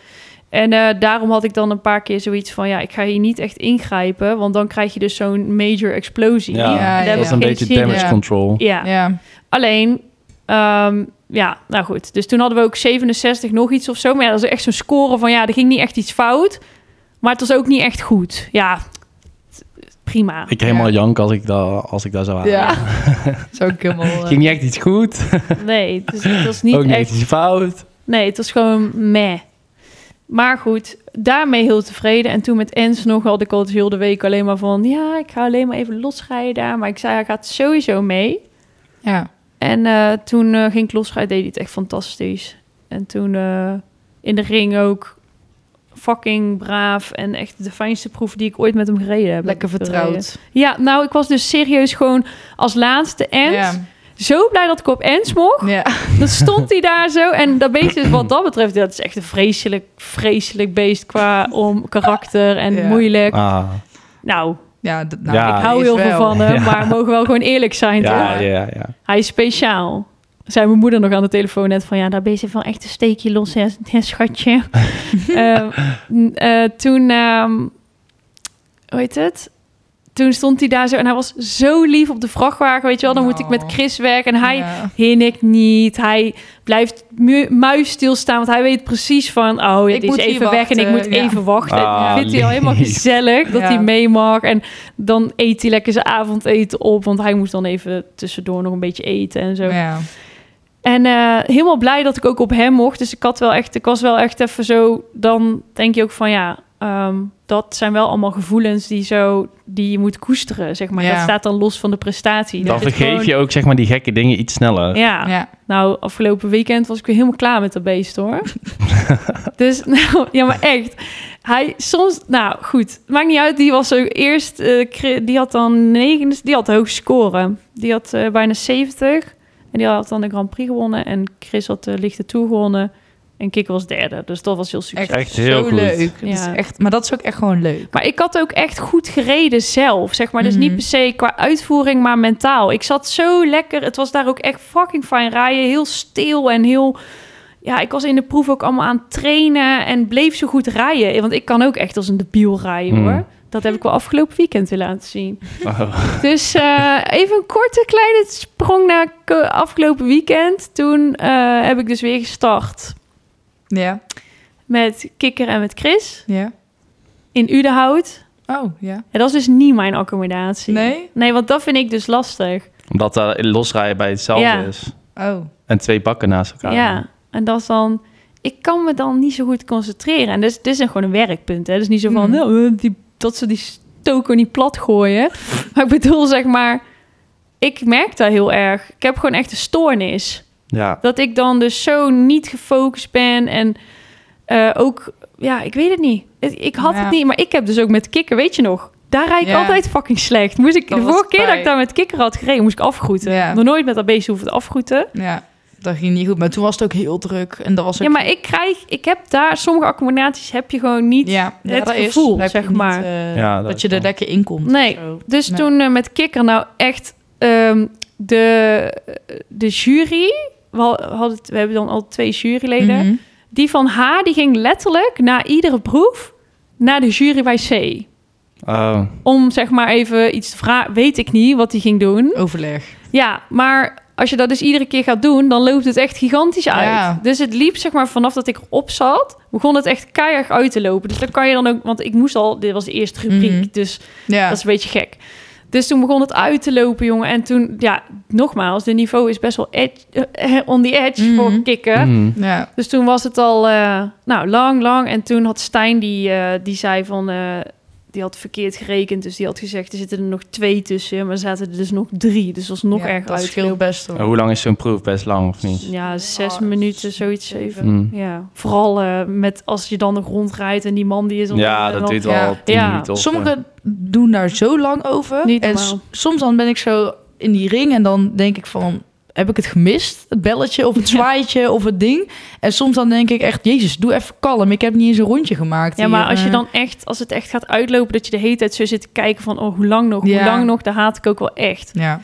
Speaker 1: En eh, daarom had ik dan een paar keer zoiets van, ja, ik ga hier niet echt ingrijpen, want dan krijg je dus zo'n major explosie.
Speaker 2: Ja,
Speaker 3: Ja,
Speaker 1: Daar heb
Speaker 2: dat
Speaker 1: ik
Speaker 2: is een
Speaker 1: geen
Speaker 2: beetje
Speaker 1: zin in.
Speaker 2: damage
Speaker 3: Ja.
Speaker 2: control.
Speaker 1: Ja.
Speaker 3: Ja.
Speaker 1: Alleen, ehm, ja, nou goed. Dus toen hadden we ook 67 nog iets of zo. Maar ja, dat is echt zo'n score van, ja, er ging niet echt iets fout. Maar het was ook niet echt goed. Ja, t- prima.
Speaker 2: [laughs] Ik helemaal jank als ik, daar als ik daar zou aan.
Speaker 3: Ja.
Speaker 2: [laughs]
Speaker 3: Zou ik helemaal... eh,
Speaker 2: Ging niet echt iets goed,
Speaker 1: Nee, dus het was niet
Speaker 2: ook niet echt
Speaker 1: echt...
Speaker 2: iets fout.
Speaker 1: Nee, het was gewoon meh. Maar goed, daarmee heel tevreden. En toen met Ens nog had ik al dus heel de week alleen maar van... ja, ik ga alleen maar even losrijden daar. Maar ik zei, hij gaat sowieso mee.
Speaker 3: Ja.
Speaker 1: En eh, toen eh, ging ik losrijden, deed hij het echt fantastisch. En toen eh, in de ring ook fucking braaf en echt de fijnste proef die ik ooit met hem gereden heb.
Speaker 3: Lekker
Speaker 1: heb ik eh, gereden.
Speaker 3: vertrouwd.
Speaker 1: Ja, nou, ik was dus serieus gewoon als laatste Ens.
Speaker 3: Ja.
Speaker 1: Zo blij dat ik op Ens mocht.
Speaker 3: Ja.
Speaker 1: Dan stond hij daar zo.
Speaker 3: [laughs]
Speaker 1: En dat beest is wat dat betreft, dat is echt een vreselijk, vreselijk beest qua om karakter en
Speaker 3: Ja.
Speaker 1: moeilijk.
Speaker 2: Ah,
Speaker 1: Nou,
Speaker 3: Ja, d- nou,
Speaker 2: Ja.
Speaker 1: ik
Speaker 3: die
Speaker 1: hou
Speaker 3: is
Speaker 1: heel veel
Speaker 3: wel.
Speaker 1: van hem,
Speaker 2: [laughs] Ja.
Speaker 1: maar we mogen wel gewoon eerlijk zijn, toch?
Speaker 2: ja, ja, ja.
Speaker 1: Hij is speciaal. Zei mijn moeder nog aan de telefoon net van... ja, daar ben je van echt een steekje los, hè, hè, schatje. Ehm, n- eh, toen... ehm, hoe heet het? Toen stond hij daar zo en hij was zo lief op de vrachtwagen, weet je wel. Dan moet ik met
Speaker 3: Nou.
Speaker 1: Chris werken en hij...
Speaker 3: Ja.
Speaker 1: Hinnikt niet. Hij blijft mu muis stilstaan. Want hij weet precies van... oh,
Speaker 3: Ik
Speaker 1: dit is
Speaker 3: moet hier
Speaker 1: even weg en ik
Speaker 3: wachten,
Speaker 1: moet
Speaker 3: ja.
Speaker 1: even wachten.
Speaker 2: Ah,
Speaker 1: vindt hij al helemaal
Speaker 2: lief.
Speaker 1: gezellig dat
Speaker 3: Ja.
Speaker 1: hij mee mag. En dan eet hij lekker zijn avondeten op. Want hij moest dan even tussendoor nog een beetje eten en zo.
Speaker 3: Ja.
Speaker 1: En eh, helemaal blij dat ik ook op hem mocht. Dus ik, had wel echt, ik was wel echt even zo... Dan denk je ook van ja... ehm, dat zijn wel allemaal gevoelens die, zo, die je moet koesteren, zeg maar.
Speaker 3: Ja.
Speaker 1: Dat staat dan los van de prestatie.
Speaker 2: Dan
Speaker 1: Dat is
Speaker 2: vergeef
Speaker 1: gewoon-
Speaker 2: je ook zeg maar, die gekke dingen iets sneller.
Speaker 1: Ja.
Speaker 3: Ja.
Speaker 1: Nou, afgelopen weekend was ik weer helemaal klaar met dat beest hoor. dus, nou, ja, maar echt. Hij soms, nou goed, maakt niet uit. Die was ook eerst, eh, cri- die had dan negen, die had hoog scoren. Die had eh, bijna 70. En die had dan de Grand Prix gewonnen. En Chris had de lichte tour gewonnen. En Kik was derde. Dus dat was heel succes.
Speaker 2: Echt heel
Speaker 3: zo
Speaker 2: goed.
Speaker 3: leuk. Dat is
Speaker 1: Ja.
Speaker 3: echt, maar dat is ook echt gewoon leuk.
Speaker 1: Maar ik had ook echt goed gereden zelf, zeg maar. Dus
Speaker 3: Mhm.
Speaker 1: niet per se qua uitvoering, maar mentaal. Ik zat zo lekker. Het was daar ook echt fucking fijn rijden. Heel stil en heel... Ja, ik was in de proef ook allemaal aan het trainen en bleef zo goed rijden. Want ik kan ook echt als een debiel rijden,
Speaker 2: Mm.
Speaker 1: hoor. Dat heb ik wel afgelopen weekend weer laten zien.
Speaker 2: Oh.
Speaker 1: Dus eh, even een korte kleine sprong naar ko- afgelopen weekend. Toen eh, heb ik dus weer gestart
Speaker 3: Ja,
Speaker 1: met Kikker en met Chris
Speaker 3: ja.
Speaker 1: in Udenhout.
Speaker 3: Oh, ja.
Speaker 1: En dat is dus niet mijn accommodatie.
Speaker 3: Nee?
Speaker 1: Nee, want dat vind ik dus lastig.
Speaker 2: [laughs] Omdat dat losrijden bij hetzelfde
Speaker 1: Ja.
Speaker 2: is.
Speaker 3: Oh,
Speaker 2: En twee bakken naast
Speaker 1: Ja.
Speaker 2: elkaar.
Speaker 1: En dat is dan... Ik kan me dan niet zo goed concentreren. En dus dit is dan gewoon een werkpunt. Hè? Dus niet zo van,
Speaker 3: Mhm.
Speaker 1: nou, eh, die, dat ze die stoker niet plat gooien. [laughs] maar ik bedoel, zeg maar... Ik merk dat heel erg. Ik heb gewoon echt een stoornis.
Speaker 2: Ja.
Speaker 1: Dat ik dan dus zo niet gefocust ben en eh, ook, ja, ik weet het niet. Het- Ik had
Speaker 3: Ja.
Speaker 1: het niet, maar ik heb dus ook met kikker, weet je nog? Daar rijd ik
Speaker 3: Ja.
Speaker 1: altijd fucking slecht. Moest ik,
Speaker 3: Dat
Speaker 1: de
Speaker 3: was
Speaker 1: vorige keer dat ik
Speaker 3: pijn.
Speaker 1: daar met kikker had gereden, moest ik afgroeten.
Speaker 3: Ja.
Speaker 1: Nog nooit met dat beestje hoeven te afgroeten.
Speaker 3: ja. Dat ging niet goed. Maar toen was het ook heel druk. En dat was ook...
Speaker 1: Ja, maar ik krijg, ik heb daar, sommige accommodaties heb je gewoon niet.
Speaker 3: ja, ja,
Speaker 1: het
Speaker 3: dat is.
Speaker 1: gevoel,
Speaker 3: Dan heb je
Speaker 1: zeg
Speaker 3: niet,
Speaker 1: maar.
Speaker 3: eh,
Speaker 2: Ja,
Speaker 3: dat,
Speaker 2: dat
Speaker 3: je
Speaker 2: is
Speaker 3: er
Speaker 2: wel-
Speaker 3: lekker in komt.
Speaker 1: Nee,
Speaker 3: Zo.
Speaker 1: Dus
Speaker 3: Nee.
Speaker 1: toen eh, met kikker, nou echt, ehm, de, de jury, we, ha- hadden, we hebben dan al twee juryleden.
Speaker 3: Mhm.
Speaker 1: Die van haar, die ging letterlijk na iedere proef naar de jury bij C.
Speaker 2: Oh.
Speaker 1: Om zeg maar even iets te vragen. Weet ik niet wat die ging doen.
Speaker 3: Overleg.
Speaker 1: Ja, maar als je dat dus iedere keer gaat doen, dan loopt het echt gigantisch uit.
Speaker 3: Ja.
Speaker 1: Dus het liep zeg maar vanaf dat ik erop zat, begon het echt keihard uit te lopen. Dus dan kan je dan ook, want ik moest al, dit was de eerste rubriek,
Speaker 3: Mhm.
Speaker 1: dus
Speaker 3: Ja.
Speaker 1: dat is een beetje gek. Dus toen begon het uit te lopen, jongen. En toen, ja, nogmaals, de niveau is best wel edge, eh, on the edge
Speaker 3: Mhm.
Speaker 1: voor kikken.
Speaker 2: Mhm.
Speaker 3: ja.
Speaker 1: Dus toen was het al eh, nou, lang, lang. En toen had Stijn, die, eh, die zei van... eh, die had verkeerd gerekend, dus die had gezegd... er zitten er nog twee tussen, maar er zaten er dus nog drie. Dus dat was nog
Speaker 3: Ja,
Speaker 1: erger
Speaker 3: Dat scheelt
Speaker 1: uitgelopen.
Speaker 3: best
Speaker 2: En
Speaker 3: wel.
Speaker 2: Hoe lang is zo'n proef? Best lang of niet?
Speaker 1: Ja, zes
Speaker 3: Ah,
Speaker 1: minuten, zoiets, zeven.
Speaker 2: Mhm.
Speaker 1: Ja, vooral eh, met als je dan nog rondrijdt en die man die is... al-
Speaker 2: Ja,
Speaker 1: en
Speaker 2: dat
Speaker 1: dan-
Speaker 2: duurt al
Speaker 3: Ja.
Speaker 2: tien
Speaker 1: Ja.
Speaker 2: minuten. of eh, zo.
Speaker 3: Sommigen doen daar zo lang over.
Speaker 1: Niet
Speaker 3: en
Speaker 1: normaal.
Speaker 3: s- soms dan ben ik zo in die ring en dan denk ik van... Heb ik het gemist? Het belletje of het zwaaitje of het ding? En soms dan denk ik echt... Jezus, doe even kalm. Ik heb niet eens een rondje gemaakt
Speaker 1: Ja, maar
Speaker 3: hier.
Speaker 1: als je
Speaker 3: Eh,
Speaker 1: dan echt, als het echt gaat uitlopen, dat je de hele tijd zo zit te kijken van, oh, hoe lang nog, hoe
Speaker 3: Ja.
Speaker 1: lang nog, daar haat ik ook wel echt.
Speaker 3: Ja,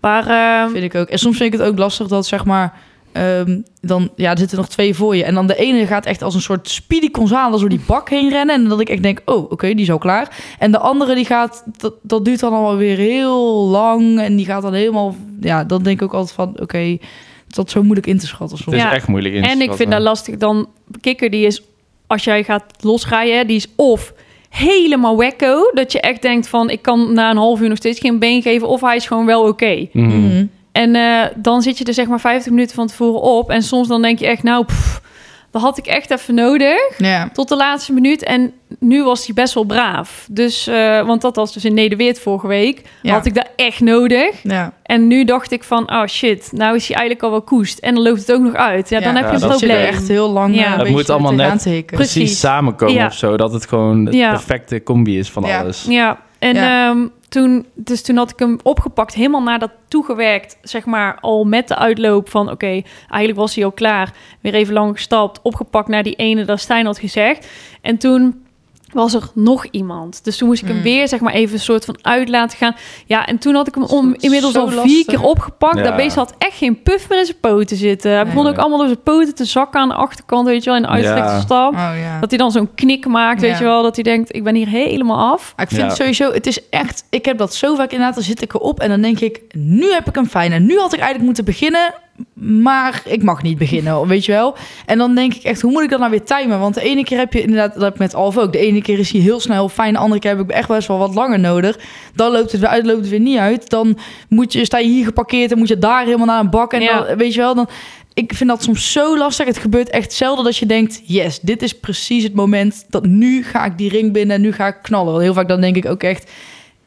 Speaker 1: Maar ehm,
Speaker 3: vind ik ook. En soms vind ik het ook lastig dat zeg maar... ehm, dan, ja, er zitten nog twee voor je. En dan de ene gaat echt als een soort speedy Gonzales door die bak heen rennen. En dat ik echt denk, oh, oké, die is al klaar. En de andere die gaat, dat, dat duurt dan allemaal weer heel lang. En die gaat dan helemaal, ja, dan denk ik ook altijd van, oké, het is dat zo moeilijk in te schatten
Speaker 2: Het
Speaker 3: soms.
Speaker 2: is
Speaker 1: Ja.
Speaker 2: echt moeilijk in te
Speaker 1: En ik vind dat
Speaker 2: schatten.
Speaker 1: lastig dan... Kikker die is, als jij gaat losrijden, die is of helemaal wekko. Dat je echt denkt van, ik kan na een half uur nog steeds geen been geven. Of hij is gewoon wel oké.
Speaker 2: Mhm.
Speaker 3: Mhm.
Speaker 1: En eh, dan zit je er zeg maar 50 minuten van tevoren op. En soms dan denk je echt, nou, pff, dat had ik echt even nodig.
Speaker 3: Ja.
Speaker 1: Tot de laatste minuut. En nu was hij best wel braaf. Dus, eh, want dat was dus in Nederweert vorige week.
Speaker 3: Ja.
Speaker 1: Had ik dat echt nodig.
Speaker 3: Ja.
Speaker 1: En nu dacht ik van, oh shit, nou is hij eigenlijk al wel koest. En dan loopt het ook nog uit. Ja,
Speaker 3: Ja,
Speaker 1: dan heb
Speaker 2: ja,
Speaker 1: je een
Speaker 2: dat
Speaker 3: Dat
Speaker 2: zit
Speaker 3: je er
Speaker 1: probleem.
Speaker 3: echt heel lang
Speaker 1: Ja.
Speaker 3: eh, een
Speaker 1: Het
Speaker 3: beetje
Speaker 2: moet allemaal
Speaker 3: tegenaan
Speaker 2: net
Speaker 3: te hikken.
Speaker 1: precies.
Speaker 2: precies, samenkomen
Speaker 1: Ja.
Speaker 2: of zo. Dat het gewoon de
Speaker 1: Ja.
Speaker 2: perfecte combi is van
Speaker 3: Ja.
Speaker 2: alles.
Speaker 1: Ja, en
Speaker 3: Ja.
Speaker 1: ehm, toen, dus toen had ik hem opgepakt, helemaal naar dat toegewerkt, zeg maar, al met de uitloop van, oké, eigenlijk was hij al klaar. Weer even lang gestapt, opgepakt naar die ene dat Stijn had gezegd. En toen was er nog iemand. Dus toen moest ik hem
Speaker 3: Mm.
Speaker 1: weer, zeg maar, even een soort van uit laten gaan. Ja, en toen had ik hem
Speaker 3: Dat is
Speaker 1: om,
Speaker 3: zo
Speaker 1: inmiddels al vier
Speaker 3: lastig.
Speaker 1: keer opgepakt.
Speaker 2: Ja.
Speaker 1: Dat beest had echt geen puff meer in zijn poten zitten. Hij
Speaker 3: Nee.
Speaker 1: begon ook allemaal door zijn poten te zakken aan de achterkant, weet je wel, in de uitstrekte
Speaker 2: Ja.
Speaker 1: stap.
Speaker 3: Oh ja.
Speaker 1: Dat hij dan zo'n knik maakt, weet
Speaker 3: Ja.
Speaker 1: je wel. Dat hij denkt, ik ben hier helemaal af.
Speaker 3: Maar ik vind
Speaker 2: Ja.
Speaker 3: het sowieso, het is echt, ik heb dat zo vaak inderdaad, dan zit ik erop en dan denk ik, nu heb ik hem fijn en nu had ik eigenlijk moeten beginnen, maar ik mag niet beginnen, [laughs] weet je wel. En dan denk ik echt, hoe moet ik dat nou weer timen? Want de ene keer heb je inderdaad, dat heb ik met Alf ook, de ene keer is hij heel snel fijn, de andere keer heb ik echt best wel wat langer nodig. Dan loopt het weer uit, loopt het weer niet uit. Dan moet je, sta je hier geparkeerd en moet je daar helemaal naar een bak en
Speaker 1: Ja.
Speaker 3: dan, weet je wel, dan... Ik vind dat soms zo lastig. Het gebeurt echt zelden dat je denkt... yes, dit is precies het moment dat nu ga ik die ring binnen... en nu ga ik knallen. Want heel vaak dan denk ik ook echt...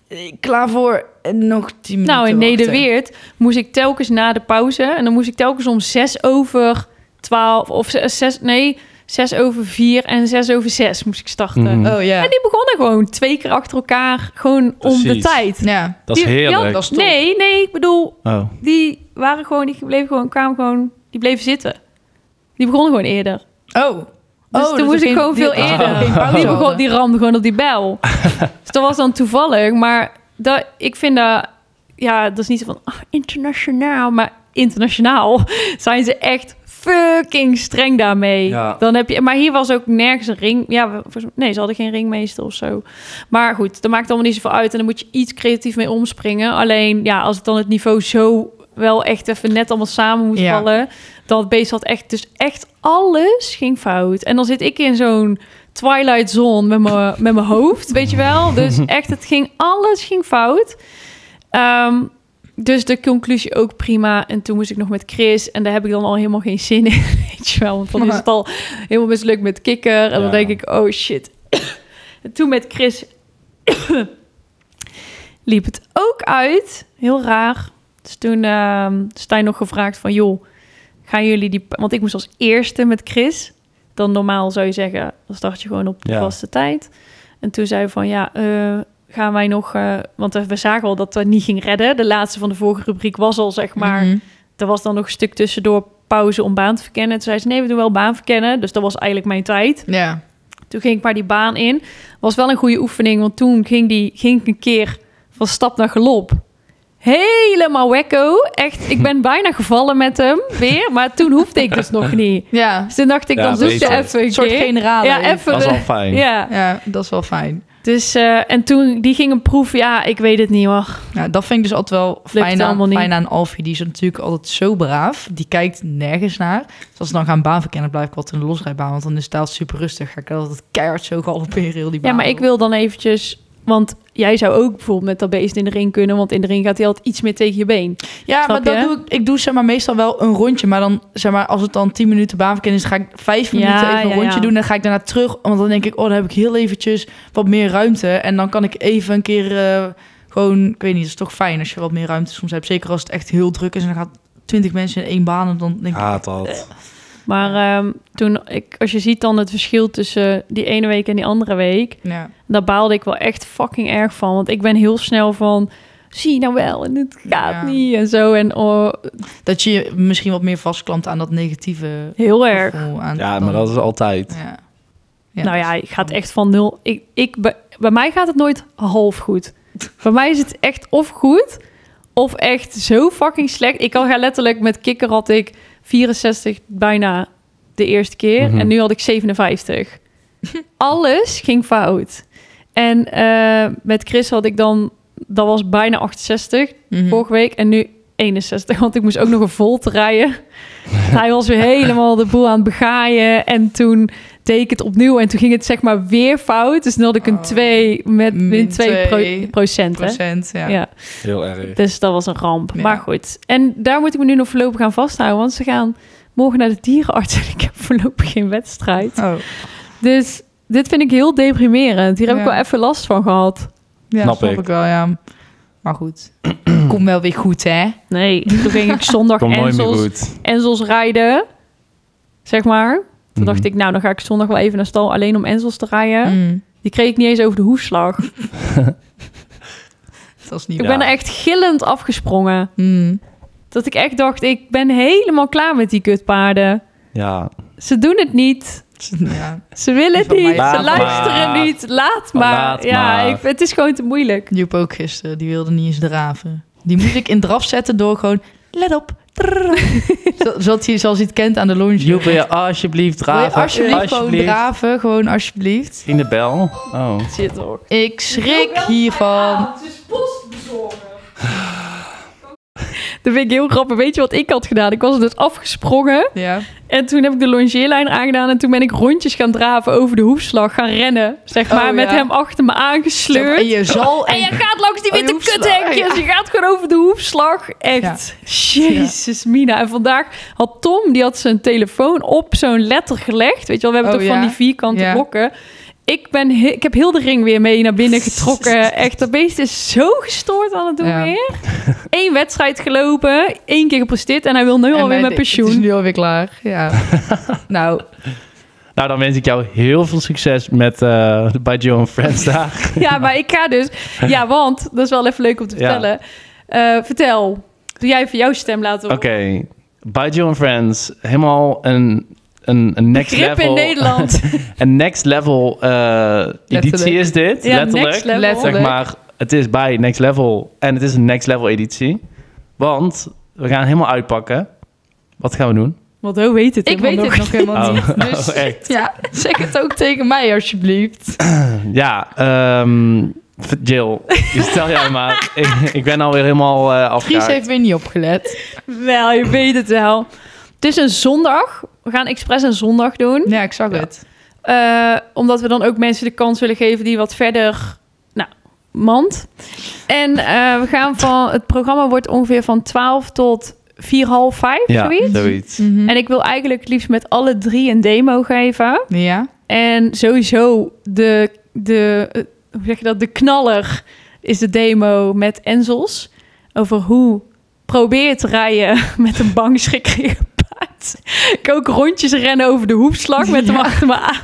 Speaker 3: eh, klaar voor en nog tien minuten
Speaker 1: Nou, in
Speaker 3: wachten.
Speaker 1: Nederweert moest ik telkens na de pauze... en dan moest ik telkens om zes over twaalf... of ze- zes, nee, zes over vier en zes over zes moest ik starten.
Speaker 2: Mhm.
Speaker 3: Oh ja.
Speaker 1: En die begonnen gewoon twee keer achter elkaar... gewoon om de
Speaker 2: Precies.
Speaker 1: tijd.
Speaker 3: Ja,
Speaker 2: Dat is
Speaker 1: Die- die had-
Speaker 2: heerlijk.
Speaker 3: dat is top.
Speaker 1: Nee, nee, ik bedoel...
Speaker 2: Oh.
Speaker 1: die waren gewoon... die bleven gewoon, kwamen gewoon... die bleven zitten. Die begonnen gewoon eerder.
Speaker 3: Oh.
Speaker 1: Dus
Speaker 3: oh,
Speaker 1: toen
Speaker 3: dat
Speaker 1: moest
Speaker 3: er
Speaker 1: ik
Speaker 3: geen-
Speaker 1: gewoon veel
Speaker 3: die-
Speaker 1: eerder. Oh.
Speaker 3: dat er geen pauze
Speaker 1: Die, begon,
Speaker 3: hadden.
Speaker 1: die ramde gewoon op die [laughs] bel. dus dat was dan toevallig. Maar dat, ik vind dat... Ja, dat is niet zo van... ah, internationaal. Maar internationaal [laughs] zijn ze echt fucking streng daarmee.
Speaker 2: Ja.
Speaker 1: Dan heb je, maar hier was ook nergens een ring. Ja, we- volgens- nee, ze hadden geen ringmeester of zo. Maar goed, dat maakt allemaal niet zoveel uit. En dan moet je iets creatief mee omspringen. Alleen, ja, als het dan het niveau zo wel echt even net allemaal samen moet
Speaker 3: Ja.
Speaker 1: vallen... dat beest had echt... Dus echt alles ging fout. En dan zit ik in zo'n Twilight Zone met mijn- met mijn hoofd, weet je wel. Dus echt, het ging, alles ging fout. Ehm, dus de conclusie ook prima. En toen moest ik nog met Chris. En daar heb ik dan al helemaal geen zin in, [laughs] weet je wel. Want dan is het al helemaal mislukt met kikker. En
Speaker 2: Ja.
Speaker 1: dan denk ik, oh shit. [coughs] En toen met Chris [coughs] liep het ook uit. Heel raar. Dus toen ehm Stijn nog gevraagd van... joh, gaan jullie die... Want ik moest als eerste met Chris. Dan normaal zou je zeggen... dan start je gewoon op de
Speaker 2: Ja.
Speaker 1: vaste tijd. En toen zei hij van... ja, eh, gaan wij nog... eh, want we zagen al dat we niet ging redden. De laatste van de vorige rubriek was al zeg maar...
Speaker 3: Mhm.
Speaker 1: Er was dan nog een stuk tussendoor pauze om baan te verkennen. Toen zei ze, nee, we doen wel baan verkennen. Dus dat was eigenlijk mijn tijd.
Speaker 3: Ja.
Speaker 1: Toen ging ik maar die baan in. Was wel een goede oefening, want toen ging, die, ging ik een keer van stap naar galop. Helemaal wekko. Echt, ik ben [laughs] bijna gevallen met hem weer. Maar toen hoefde ik dus nog niet.
Speaker 3: Ja.
Speaker 1: Dus toen dacht ik,
Speaker 2: Ja,
Speaker 1: dan zoek je
Speaker 2: beter.
Speaker 1: even een
Speaker 3: Een soort
Speaker 1: keer.
Speaker 3: generale.
Speaker 1: Ja, even.
Speaker 2: Dat is al
Speaker 1: de-
Speaker 2: fijn.
Speaker 1: Ja,
Speaker 3: Ja, dat is wel fijn.
Speaker 1: dus eh, en toen die ging een proef. Ja, ik weet het niet hoor.
Speaker 3: Ja, dat vind ik dus altijd wel fijn
Speaker 1: allemaal
Speaker 3: aan,
Speaker 1: niet.
Speaker 3: fijn aan Alfie. Die is natuurlijk altijd zo braaf. Die kijkt nergens naar. Dus als ze dan gaan baan verkennen, blijf ik altijd in de losrijbaan. Want dan is het daar super rustig. Ga ik altijd keihard zo galopperen heel die baan.
Speaker 1: Ja, maar ik wil dan eventjes. Want jij zou ook bijvoorbeeld met dat beest in de ring kunnen. Want in de ring gaat hij altijd iets meer tegen je been.
Speaker 3: Ja,
Speaker 1: Snap
Speaker 3: maar dat
Speaker 1: je?
Speaker 3: doe ik. Ik doe zeg maar meestal wel een rondje. Maar dan zeg maar, als het dan 10 minuten baanverkenning is, ga ik 5
Speaker 1: Ja,
Speaker 3: minuten even een
Speaker 1: ja,
Speaker 3: rondje
Speaker 1: ja.
Speaker 3: doen. Dan ga ik daarna terug. Want dan denk ik, oh, dan heb ik heel eventjes wat meer ruimte. En dan kan ik even een keer eh, gewoon, ik weet niet, het is toch fijn als je wat meer ruimte soms hebt. Zeker als het echt heel druk is en dan gaat 20 mensen in één baan. En dan denk ik,
Speaker 2: Haat dat.
Speaker 1: Maar ehm, toen, ik, als je ziet dan het verschil tussen die ene week en die andere week,
Speaker 3: ja.
Speaker 1: daar baalde ik wel echt fucking erg van. Want ik ben heel snel van, zie je nou wel, en het gaat
Speaker 3: Ja.
Speaker 1: niet en zo. En oh,
Speaker 3: dat je je misschien wat meer vastklampt aan dat negatieve
Speaker 1: heel erg.
Speaker 3: gevoel aan
Speaker 2: Ja,
Speaker 3: dan-
Speaker 2: maar dat is altijd.
Speaker 3: Ja.
Speaker 1: nou ja, ik gaat echt van nul. Ik, ik, bij, bij mij gaat het nooit half goed. bij mij is het echt of goed, of echt zo fucking slecht. Ik kan ga letterlijk met kikker had ik 64 bijna de eerste keer.
Speaker 2: Mhm.
Speaker 1: En nu had ik 57. Alles ging fout. En eh, met Chris had ik dan, dat was bijna 68.
Speaker 3: Mhm.
Speaker 1: Vorige week en nu 61, want ik moest ook nog een volt rijden. Hij was weer helemaal de boel aan het begaaien. En toen deed ik het opnieuw en toen ging het zeg maar weer fout. Dus dan had ik een
Speaker 3: Oh.
Speaker 1: 2 met min
Speaker 3: Min
Speaker 1: 2
Speaker 3: twee
Speaker 1: procent. Hè?
Speaker 3: procent, ja.
Speaker 1: Ja.
Speaker 2: Heel erg.
Speaker 1: dus dat was een ramp.
Speaker 3: Ja.
Speaker 1: Maar goed, en daar moet ik me nu nog voorlopig aan vasthouden. Want ze gaan morgen naar de dierenarts [laughs] en ik heb voorlopig geen
Speaker 3: [laughs]
Speaker 1: wedstrijd.
Speaker 3: Oh,
Speaker 1: Dus dit vind ik heel deprimerend. Hier heb ik
Speaker 3: Ja.
Speaker 1: wel even last van gehad.
Speaker 3: ja,
Speaker 2: Snap
Speaker 3: snap,
Speaker 2: ik.
Speaker 3: ik. wel, ja. Maar
Speaker 2: [clears throat]
Speaker 3: goed, kom wel weer goed, hè?
Speaker 1: Nee, toen ging ik zondag
Speaker 2: Komt nooit meer
Speaker 1: Enzels
Speaker 2: goed.
Speaker 1: Enzels rijden, zeg maar. Toen dacht
Speaker 2: Mhm.
Speaker 1: ik, nou, dan ga ik zondag wel even naar stal alleen om Enzels te rijden.
Speaker 3: Mm.
Speaker 1: Die kreeg ik niet eens over de
Speaker 2: [laughs]
Speaker 1: hoefslag.
Speaker 3: Dat is niet
Speaker 2: Ja.
Speaker 1: Ik ben er echt gillend afgesprongen.
Speaker 3: Mm.
Speaker 1: Dat ik echt dacht, ik ben helemaal klaar met die kutpaarden.
Speaker 2: Ja.
Speaker 1: Ze doen het niet.
Speaker 3: Ja,
Speaker 1: Ze willen het
Speaker 3: Van mij
Speaker 1: niet. Ze
Speaker 2: laat maar.
Speaker 1: luisteren niet. Laat maar.
Speaker 2: Laat
Speaker 1: ja,
Speaker 2: maar.
Speaker 1: Ik, het is gewoon te moeilijk.
Speaker 3: Joep ook gisteren, die wilde niet eens draven. Die moest ik in draf zetten door gewoon, let op.
Speaker 1: [laughs]
Speaker 3: Zo- Zoals hij, zoals hij het kent aan de lounge.
Speaker 2: Joep, wil je alsjeblieft
Speaker 3: Wil je
Speaker 2: draven?
Speaker 3: alsjeblieft gewoon draven, gewoon alsjeblieft.
Speaker 2: In de bel. Oh.
Speaker 1: Shit toch.
Speaker 3: Ik schrik hiervan.
Speaker 1: Het dus is postbezorgen. [laughs] Dat vind ik heel grappig. Weet je wat ik had gedaan? Ik was er dus afgesprongen.
Speaker 3: Ja.
Speaker 1: En toen heb ik de longeerlijn aangedaan en toen ben ik rondjes gaan draven over de hoefslag, gaan rennen, zeg
Speaker 3: Oh,
Speaker 1: maar, met
Speaker 3: ja.
Speaker 1: hem achter me aangesleurd.
Speaker 3: En je zal
Speaker 1: En je gaat langs die
Speaker 3: Oh, je
Speaker 1: witte
Speaker 3: hoefslag,
Speaker 1: kuthekjes. Je gaat gewoon over de hoefslag. Echt. Jezus, Mina. En vandaag had Tom, die had zijn telefoon op zo'n letter gelegd. Weet je wel, we hebben
Speaker 3: Oh,
Speaker 1: toch
Speaker 3: ja?
Speaker 1: van die vierkante
Speaker 3: Ja.
Speaker 1: blokken. Ik, ben he- ik heb heel de ring weer mee naar binnen
Speaker 3: [laughs]
Speaker 1: getrokken. Echt, dat beest is zo gestoord aan het doen
Speaker 3: Ja.
Speaker 1: weer. Eén wedstrijd gelopen, één keer gepresteerd en hij wil nu
Speaker 3: En
Speaker 1: alweer
Speaker 3: wij
Speaker 1: met
Speaker 3: de- Het
Speaker 1: pensioen.
Speaker 3: is nu alweer klaar.
Speaker 1: [laughs]
Speaker 3: Ja. nou,
Speaker 2: Nou, dan wens ik jou heel veel succes met eh, bij Joe en Friends
Speaker 1: [laughs]
Speaker 2: daar.
Speaker 1: Ja, maar ik ga dus.
Speaker 2: [laughs]
Speaker 1: Ja, want dat is wel even leuk om te
Speaker 2: Ja.
Speaker 1: vertellen. Eh, vertel. Doe jij even jouw stem laten
Speaker 2: Oké.
Speaker 1: horen.
Speaker 2: Bij Joe en Friends. Helemaal een, een, een next
Speaker 1: Grip in
Speaker 2: level. [laughs]
Speaker 1: Nederland.
Speaker 2: Een next level eh, editie is dit.
Speaker 1: Ja,
Speaker 2: letterlijk.
Speaker 1: next level.
Speaker 3: Letterlijk.
Speaker 2: Zeg maar, het is bij Next Level en het is een Next Level editie. Want we gaan helemaal uitpakken. Wat gaan we doen?
Speaker 1: Want hoe weet het
Speaker 3: Ik weet het
Speaker 1: [laughs]
Speaker 3: nog helemaal
Speaker 2: Oh.
Speaker 3: niet. Dus
Speaker 2: [laughs] Oh, echt?
Speaker 3: ja, zeg het ook tegen mij alsjeblieft.
Speaker 2: Ja, ehm, Jill, [laughs] stel jij maar. ik, ik ben alweer helemaal eh
Speaker 3: Fries
Speaker 2: afgehaakt.
Speaker 3: heeft weer niet opgelet.
Speaker 1: [laughs] Wel, je weet het wel. Het is een zondag. We gaan expres een zondag doen.
Speaker 3: Ja, ik zag
Speaker 1: Ja.
Speaker 3: het.
Speaker 1: Eh, omdat we dan ook mensen de kans willen geven die wat verder... Nou, mand. En eh, we gaan van... Het programma wordt ongeveer van 12 tot 4, half 5,
Speaker 2: Ja,
Speaker 1: zoiets.
Speaker 2: zoiets.
Speaker 3: Mhm.
Speaker 1: En ik wil eigenlijk het liefst met alle drie een demo geven.
Speaker 3: Ja.
Speaker 1: En sowieso de... de eh, hoe zeg je dat? De knaller is de demo met Enzels. Over hoe probeer te rijden [laughs] met een bangschrik paard. Ik ook rondjes rennen over de hoefslag met hem
Speaker 3: Ja.
Speaker 1: achter me aan.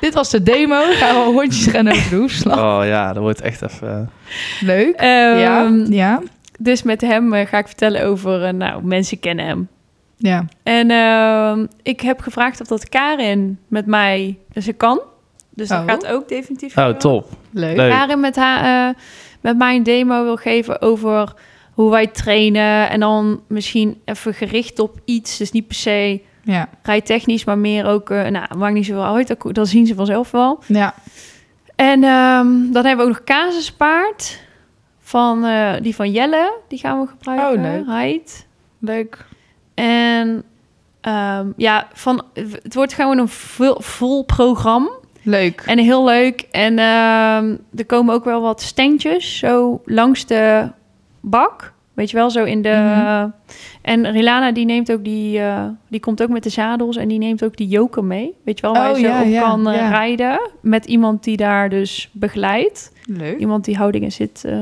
Speaker 3: Dit was de demo. Gaan we hondjes gaan over de
Speaker 1: Mm.
Speaker 3: hoefslag.
Speaker 2: Oh ja, dat wordt echt even...
Speaker 3: Leuk.
Speaker 1: Ehm,
Speaker 3: ja. Ja.
Speaker 1: Dus met hem eh, ga ik vertellen over, eh, nou, mensen kennen hem.
Speaker 3: Ja.
Speaker 1: En ehm, ik heb gevraagd of dat Karin met mij, dus ik kan. Dus dat
Speaker 3: Oh.
Speaker 1: gaat ook definitief.
Speaker 2: Oh,
Speaker 1: gebeuren.
Speaker 2: top.
Speaker 3: Leuk.
Speaker 2: Leuk.
Speaker 1: Karin met, haar, eh, met mij een demo wil geven over hoe wij trainen. En dan misschien even gericht op iets. Dus niet per se
Speaker 3: Ja.
Speaker 1: rijtechnisch, maar meer ook, eh nou, maakt niet zoveel uit. Dat, dat zien ze vanzelf wel.
Speaker 3: Ja.
Speaker 1: En ehm, dan hebben we ook nog casuspaard. Van, eh, die van Jelle, die gaan we gebruiken.
Speaker 3: Oh, leuk.
Speaker 1: Right.
Speaker 3: Leuk.
Speaker 1: En ehm, ja, van, het wordt gewoon een vol, vol programma.
Speaker 3: Leuk.
Speaker 1: En heel leuk. En ehm, er komen ook wel wat standjes zo langs de bak. Weet je wel, zo in de...
Speaker 3: Mhm.
Speaker 1: en Rilana, die neemt ook die... eh, die komt ook met de zadels en die neemt ook die joker mee. Weet je wel, waar
Speaker 3: Oh,
Speaker 1: je zo
Speaker 3: ja,
Speaker 1: op
Speaker 3: ja,
Speaker 1: kan eh,
Speaker 3: ja.
Speaker 1: rijden. Met iemand die daar dus begeleidt.
Speaker 3: Leuk.
Speaker 1: Iemand die houdingen zit... eh,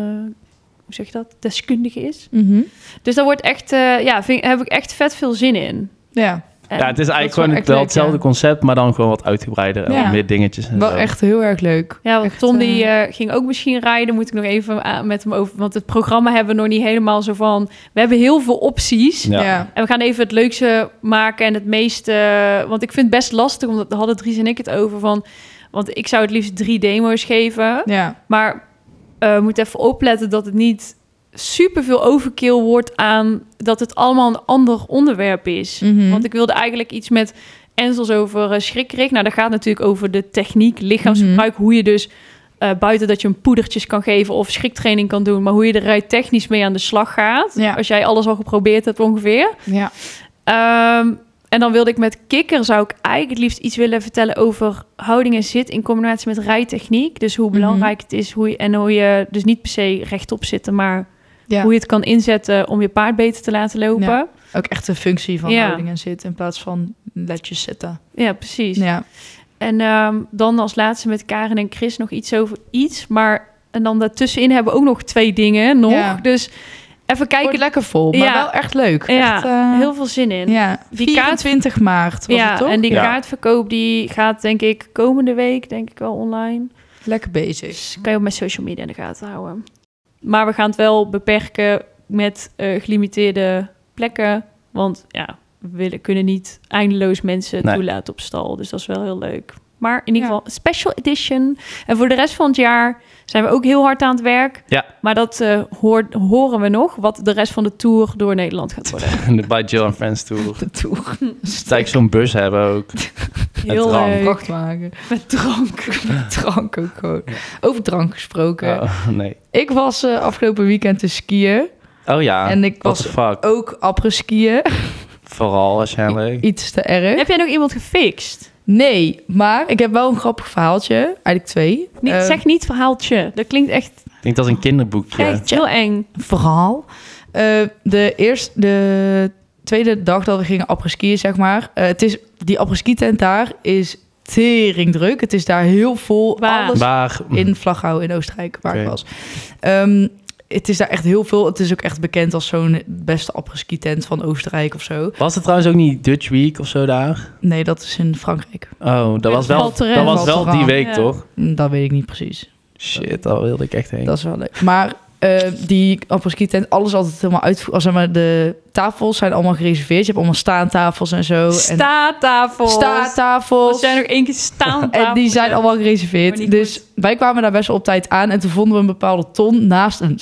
Speaker 1: hoe zeg je dat? Deskundige is.
Speaker 3: Mhm.
Speaker 1: Dus daar wordt echt... eh, ja, vind, heb ik echt vet veel zin in.
Speaker 3: Ja.
Speaker 1: En-
Speaker 2: Ja, het is
Speaker 3: wel
Speaker 2: eigenlijk gewoon
Speaker 3: echt
Speaker 2: wel
Speaker 3: leuk,
Speaker 2: hetzelfde
Speaker 3: ja.
Speaker 2: concept, maar dan gewoon wat uitgebreider en
Speaker 3: Ja.
Speaker 2: wat meer dingetjes. En
Speaker 3: Wel
Speaker 2: zo.
Speaker 3: echt heel erg leuk.
Speaker 1: Ja, want
Speaker 3: Echt,
Speaker 1: Tom die
Speaker 3: eh,
Speaker 1: eh, ging ook misschien rijden. Moet ik nog even aan- met hem over. Want het programma hebben we nog niet helemaal zo van. We hebben heel veel opties.
Speaker 2: Ja.
Speaker 3: Ja.
Speaker 1: En we gaan even het leukste maken en het meeste. Want ik vind het best lastig. Omdat daar hadden Dries en ik het over van. Want ik zou het liefst drie demo's geven.
Speaker 3: Ja.
Speaker 1: Maar eh moet even opletten dat het niet super veel overkill wordt aan dat het allemaal een ander onderwerp is.
Speaker 3: Mhm.
Speaker 1: Want ik wilde eigenlijk iets met Enzels over eh, schrikkerig. Nou, dat gaat natuurlijk over de techniek, lichaamsgebruik.
Speaker 3: Mhm.
Speaker 1: Hoe je dus, eh, buiten dat je een poedertjes kan geven of schriktraining kan doen... maar hoe je er rijtechnisch mee aan de slag gaat.
Speaker 3: Ja.
Speaker 1: Als jij alles al geprobeerd hebt ongeveer.
Speaker 3: Ja.
Speaker 1: Ehm, en dan wilde ik met kikker, zou ik eigenlijk het liefst iets willen vertellen over houding en zit in combinatie met rijtechniek. Dus hoe
Speaker 3: Mhm.
Speaker 1: belangrijk het is hoe je, en hoe je dus niet per se rechtop zitten, maar
Speaker 3: Ja.
Speaker 1: hoe je het kan inzetten om je paard beter te laten lopen. Ja,
Speaker 3: Ja. Ook echt een functie van
Speaker 1: Ja.
Speaker 3: houding en zit in plaats van letjes zitten.
Speaker 1: precies.
Speaker 3: Ja.
Speaker 1: En ehm, dan als laatste met Karen en Chris nog iets over iets, maar en dan daartussenin hebben we ook nog twee dingen nog.
Speaker 3: Ja.
Speaker 1: Dus even
Speaker 3: Wordt
Speaker 1: kijken.
Speaker 3: lekker vol, maar
Speaker 1: Ja.
Speaker 3: wel echt leuk.
Speaker 1: Ja,
Speaker 3: echt, eh,
Speaker 1: heel veel zin in.
Speaker 3: ja.
Speaker 1: Die kaart-
Speaker 3: 24 maart was
Speaker 1: Ja,
Speaker 3: het toch?
Speaker 1: en die
Speaker 2: Ja.
Speaker 1: kaartverkoop die gaat denk ik komende week denk ik wel online.
Speaker 3: Lekker bezig.
Speaker 1: Dus kan je op mijn social media in de gaten houden. Maar we gaan het wel beperken met eh, gelimiteerde plekken. Want ja, we willen, kunnen niet eindeloos mensen
Speaker 2: Nee.
Speaker 1: toelaten op stal. Dus dat is wel heel leuk. Maar in ieder
Speaker 3: Ja.
Speaker 1: geval special edition. En voor de rest van het jaar zijn we ook heel hard aan het werk.
Speaker 2: Ja.
Speaker 1: Maar dat eh, hoor- horen we nog. Wat de rest van de tour door Nederland gaat
Speaker 2: [laughs]
Speaker 1: worden.
Speaker 2: De By Jill and Friends
Speaker 3: [laughs]
Speaker 2: Tour.
Speaker 3: De toer.
Speaker 2: Dat ik zo'n bus hebben ook.
Speaker 1: Heel
Speaker 2: drank.
Speaker 1: leuk.
Speaker 3: Vrachtwagen.
Speaker 1: Met drank.
Speaker 3: [laughs] Met drank ook gewoon. Over drank gesproken.
Speaker 2: Oh, nee.
Speaker 3: Ik was eh, afgelopen weekend te skiën.
Speaker 2: Oh ja,
Speaker 3: en ik
Speaker 2: what the
Speaker 3: was
Speaker 2: fuck.
Speaker 3: ook après skiën.
Speaker 2: Vooral waarschijnlijk.
Speaker 3: Iets te erg.
Speaker 1: Heb jij nog iemand gefixt?
Speaker 3: Nee, maar ik heb wel een grappig verhaaltje. Eigenlijk twee.
Speaker 1: Niet,
Speaker 3: Eh,
Speaker 1: zeg niet verhaaltje. Dat klinkt echt,
Speaker 2: Ik denk dat is een kinderboekje.
Speaker 1: echt heel eng.
Speaker 3: Oh, verhaal. Eh, de eerste, de tweede dag dat we gingen apres-skiën, zeg maar. eh, het is, die apres-ski tent daar is tering druk. Het is daar heel vol.
Speaker 1: Waar?
Speaker 3: Alles
Speaker 2: Maar
Speaker 3: in Vlaghouw in Oostenrijk, waar ik
Speaker 2: Oké.
Speaker 3: was. Ehm, het is daar echt heel veel. Het is ook echt bekend als zo'n beste apres-ski tent van Oostenrijk of zo.
Speaker 2: was het trouwens ook niet Dutch Week of zo daar?
Speaker 3: Nee, dat is in Frankrijk.
Speaker 2: Oh, dat was wel,
Speaker 1: Valt er-
Speaker 2: dat was
Speaker 3: valt
Speaker 2: wel
Speaker 3: er
Speaker 2: die
Speaker 3: aan.
Speaker 2: week
Speaker 1: Ja.
Speaker 2: toch?
Speaker 3: Hm, Dat weet ik niet precies.
Speaker 2: Shit, daar wilde ik echt heen.
Speaker 3: Dat is wel leuk. Maar eh, die apres-ski tent, alles altijd helemaal uitvoer. Zeg maar, de tafels zijn allemaal gereserveerd. Je hebt allemaal staantafels en zo. en-
Speaker 1: Staattafel.
Speaker 3: Staattafels.
Speaker 1: Er zijn nog één keer staantafels.
Speaker 3: [laughs] En die zijn allemaal
Speaker 1: Maar
Speaker 3: gereserveerd.
Speaker 1: niet
Speaker 3: Dus wij kwamen daar best wel op tijd aan. En toen vonden we een bepaalde ton naast een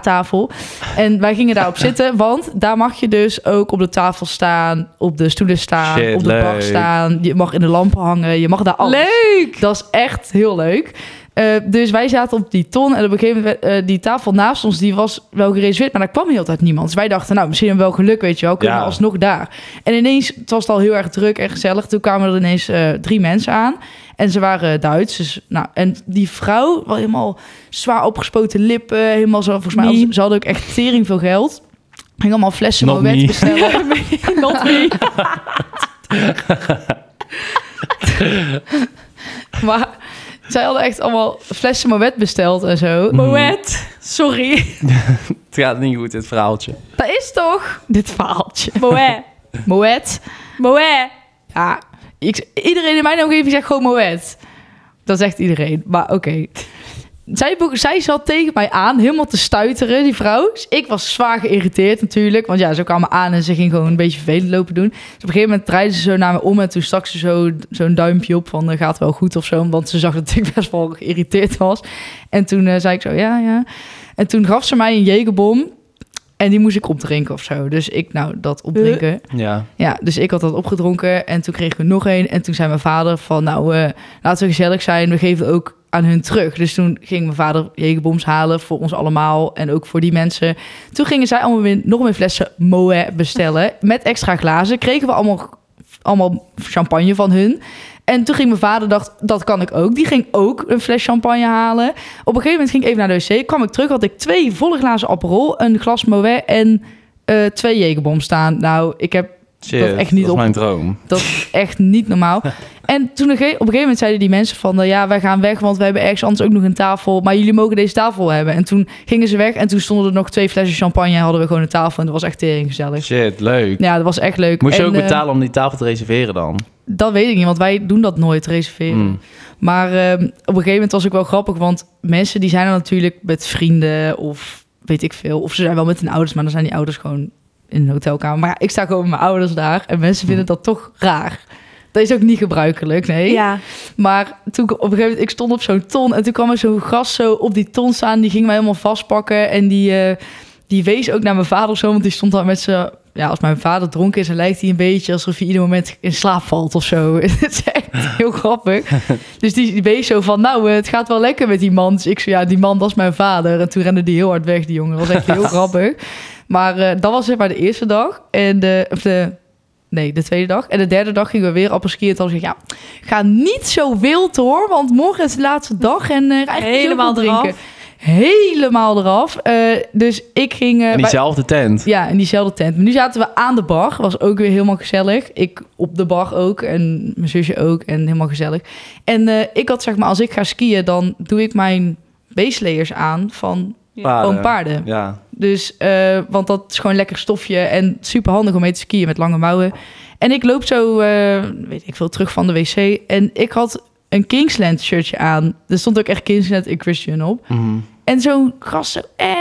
Speaker 3: tafel. En wij
Speaker 1: [laughs]
Speaker 3: gingen daarop zitten, want daar mag je dus ook op de tafel staan, op de stoelen staan,
Speaker 2: Shit,
Speaker 3: op de bar
Speaker 2: leuk.
Speaker 3: staan. Je mag in de lampen hangen, je mag daar alles.
Speaker 1: Leuk!
Speaker 3: Dat is echt heel leuk. Eh, dus wij zaten op die ton en op een gegeven moment eh, die tafel naast ons, die was wel gereserveerd, maar daar kwam heel de tijd niemand. Dus wij dachten, nou, misschien hebben we wel geluk, weet je wel, kunnen
Speaker 2: Ja.
Speaker 3: we alsnog daar. En ineens, het was het al heel erg druk en gezellig, toen kwamen er ineens eh, drie mensen aan en ze waren Duits. Dus, nou, en die vrouw, wel helemaal zwaar opgespoten lippen, helemaal zo, volgens mij,
Speaker 1: Mie.
Speaker 3: hadden ze- ze hadden ook echt tering veel geld. Ging allemaal flessen
Speaker 2: Not
Speaker 3: Moët [laughs]
Speaker 2: me.
Speaker 3: bestellen.
Speaker 1: [laughs] Not me.
Speaker 3: maar zij hadden echt allemaal flessen Moët besteld en
Speaker 2: Mm.
Speaker 3: zo.
Speaker 1: Hm. Moet. Sorry.
Speaker 2: Het gaat niet goed, dit verhaaltje.
Speaker 3: Dat is toch dit verhaaltje.
Speaker 1: Moet.
Speaker 3: Moet.
Speaker 1: Moet.
Speaker 3: Ja, ik, iedereen in mijn omgeving zegt gewoon Moet. Dat zegt iedereen, maar oké. Zij, boek- zij zat tegen mij aan, helemaal te stuiteren, die vrouw. Dus ik was zwaar geïrriteerd natuurlijk. Want ja, ze kwam me aan en ze ging gewoon een beetje vervelend lopen doen. Dus op een gegeven moment draaide ze zo naar me om... en toen stak ze zo- zo'n duimpje op van eh, gaat wel goed of zo. Want ze zag dat [laughs] ik best wel geïrriteerd was. En toen eh, zei ik zo, ja, ja. En toen gaf ze mij een jegerbom. En die moest ik opdrinken of zo. Dus ik, nou, dat opdrinken.
Speaker 2: Ja.
Speaker 3: Ja, dus ik had dat opgedronken en toen kreeg ik er nog één. En toen zei mijn vader van, nou, eh, laten we gezellig zijn. We geven ook aan hun terug. Dus toen ging mijn vader jegerboms halen voor ons allemaal en ook voor die mensen. Toen gingen zij allemaal weer nog meer flessen Moët bestellen met extra glazen. Kregen we allemaal, allemaal champagne van hun. En toen ging mijn vader, dacht, dat kan ik ook. Die ging ook een fles champagne halen. Op een gegeven moment ging ik even naar de wc. Kwam ik terug, had ik twee volle glazen Aperol, een glas Moët en eh, twee jegerboms staan. Nou, ik heb
Speaker 2: Shit,
Speaker 3: Dat echt niet
Speaker 2: dat
Speaker 3: op-
Speaker 2: is mijn droom.
Speaker 3: dat is echt niet
Speaker 2: [laughs]
Speaker 3: normaal. En toen op een ge- op een gegeven moment zeiden die mensen van... eh, ja, wij gaan weg, want we hebben ergens anders ook nog een tafel. Maar jullie mogen deze tafel hebben. En toen gingen ze weg en toen stonden er nog twee flessen champagne... en hadden we gewoon een tafel en dat was echt tering gezellig.
Speaker 2: Shit, leuk.
Speaker 3: Ja, dat was echt leuk.
Speaker 2: Moest je
Speaker 3: En,
Speaker 2: ook
Speaker 3: eh,
Speaker 2: betalen om die tafel te reserveren dan?
Speaker 3: dat weet ik niet, want wij doen dat nooit, reserveren.
Speaker 2: Mm.
Speaker 3: Maar ehm, op een gegeven moment was ik wel grappig, want mensen die zijn er natuurlijk met vrienden of weet ik veel. Of ze zijn wel met hun ouders, maar dan zijn die ouders gewoon in een hotelkamer. Maar ja, ik sta gewoon met mijn ouders daar en mensen vinden dat toch raar. Dat is ook niet gebruikelijk, nee.
Speaker 1: Ja.
Speaker 3: Maar toen ik op een gegeven moment, ik stond op zo'n ton en toen kwam er zo'n gast zo op die ton staan. Die ging mij helemaal vastpakken en die, eh, die wees ook naar mijn vader of zo, want die stond daar met zijn... Ja, als mijn vader dronken is, dan lijkt hij een beetje alsof hij ieder moment in slaap valt of zo. [laughs] Het is echt heel grappig. Dus die, die wees zo van, nou, eh, het gaat wel lekker met die man. Dus ik zo, ja, die man, dat is mijn vader. En toen rende die heel hard weg, die jongen. Dat was echt
Speaker 1: [laughs]
Speaker 3: heel grappig. Maar eh, dat was zeg maar de eerste dag. En de, of de, nee, de tweede dag. En de derde dag gingen we weer appelskiën. En toen zei ik, ja, ga niet zo wild hoor, want morgen is de laatste dag. En eh eigenlijk
Speaker 1: Helemaal
Speaker 3: drinken.
Speaker 1: eraf.
Speaker 3: Helemaal eraf. Eh, dus ik ging... eh,
Speaker 2: In
Speaker 3: bij-
Speaker 2: diezelfde tent.
Speaker 3: ja, in diezelfde tent. Maar nu zaten we aan de bar. Was ook weer helemaal gezellig. Ik op de bar ook. En mijn zusje ook. En helemaal gezellig. En eh, ik had zeg maar, als ik ga skiën, dan doe ik mijn baselayers aan van
Speaker 2: eh,
Speaker 3: gewoon paarden.
Speaker 2: Ja.
Speaker 3: Dus, eh, want dat is gewoon een lekker stofje en super handig om mee te skiën met lange mouwen. En ik loop zo, eh, weet ik veel, terug van de wc. En ik had een Kingsland shirtje aan. Er stond ook echt Kingsland en Christian op.
Speaker 2: Mhm.
Speaker 3: En zo'n gast zo... eh, eh,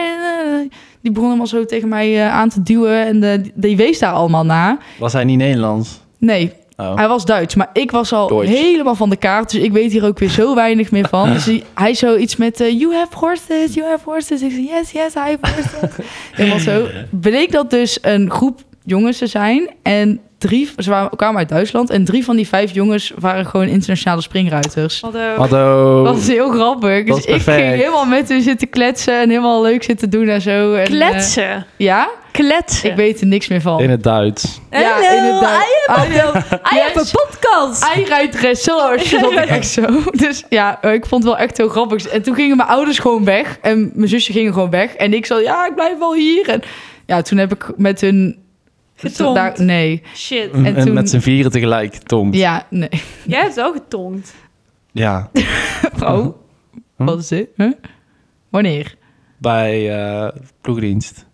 Speaker 3: die begon helemaal zo tegen mij eh, aan te duwen. En eh, die- die wees daar allemaal naar.
Speaker 2: Was hij niet Nederlands?
Speaker 3: Nee,
Speaker 2: Oh.
Speaker 3: hij was Duits. Maar ik was al
Speaker 2: Deutsch.
Speaker 3: helemaal van de kaart. Dus ik weet hier ook weer zo weinig meer
Speaker 2: [laughs]
Speaker 3: van. Dus hij, hij zoiets met... eh, you have horses, you have horses. Ik zei, yes, yes, I have
Speaker 2: [laughs]
Speaker 3: horses. helemaal zo. Bleek dat dus een groep jongens te zijn. En drie... Ze waren, kwamen uit Duitsland. En drie van die vijf jongens waren gewoon internationale springruiters.
Speaker 2: Hallo.
Speaker 3: Dat is heel grappig.
Speaker 2: Oh. Dat
Speaker 3: Dus
Speaker 2: is
Speaker 3: ik ging
Speaker 2: perfect.
Speaker 3: helemaal met hun zitten kletsen en helemaal leuk zitten doen en zo. En, eh,
Speaker 1: Kletsen.
Speaker 3: ja,
Speaker 1: Kletsen.
Speaker 3: ik weet er niks meer van.
Speaker 2: In het Duits.
Speaker 3: Ja,
Speaker 1: Hallo,
Speaker 3: inderdaad. Ah,
Speaker 1: I have a- I
Speaker 3: Yes.
Speaker 1: have a podcast.
Speaker 3: Hij rijdt dressage,
Speaker 1: [laughs]
Speaker 3: dat ik echt zo. Dus ja, eh, ik vond het wel echt heel grappig. En toen gingen mijn ouders gewoon weg. En mijn zusje ging gewoon weg. En ik zei, ja, ik blijf wel hier. En ja, toen heb ik met hun...
Speaker 1: Getongd.
Speaker 3: Daar- nee.
Speaker 1: Shit.
Speaker 2: En,
Speaker 3: toen-
Speaker 2: met z'n vieren tegelijk, Tom. Ja.
Speaker 3: Ja, nee.
Speaker 1: Jij hebt wel getongd.
Speaker 3: Oh, wat is dit? Huh? Wanneer?
Speaker 2: Bij eh ploegdienst.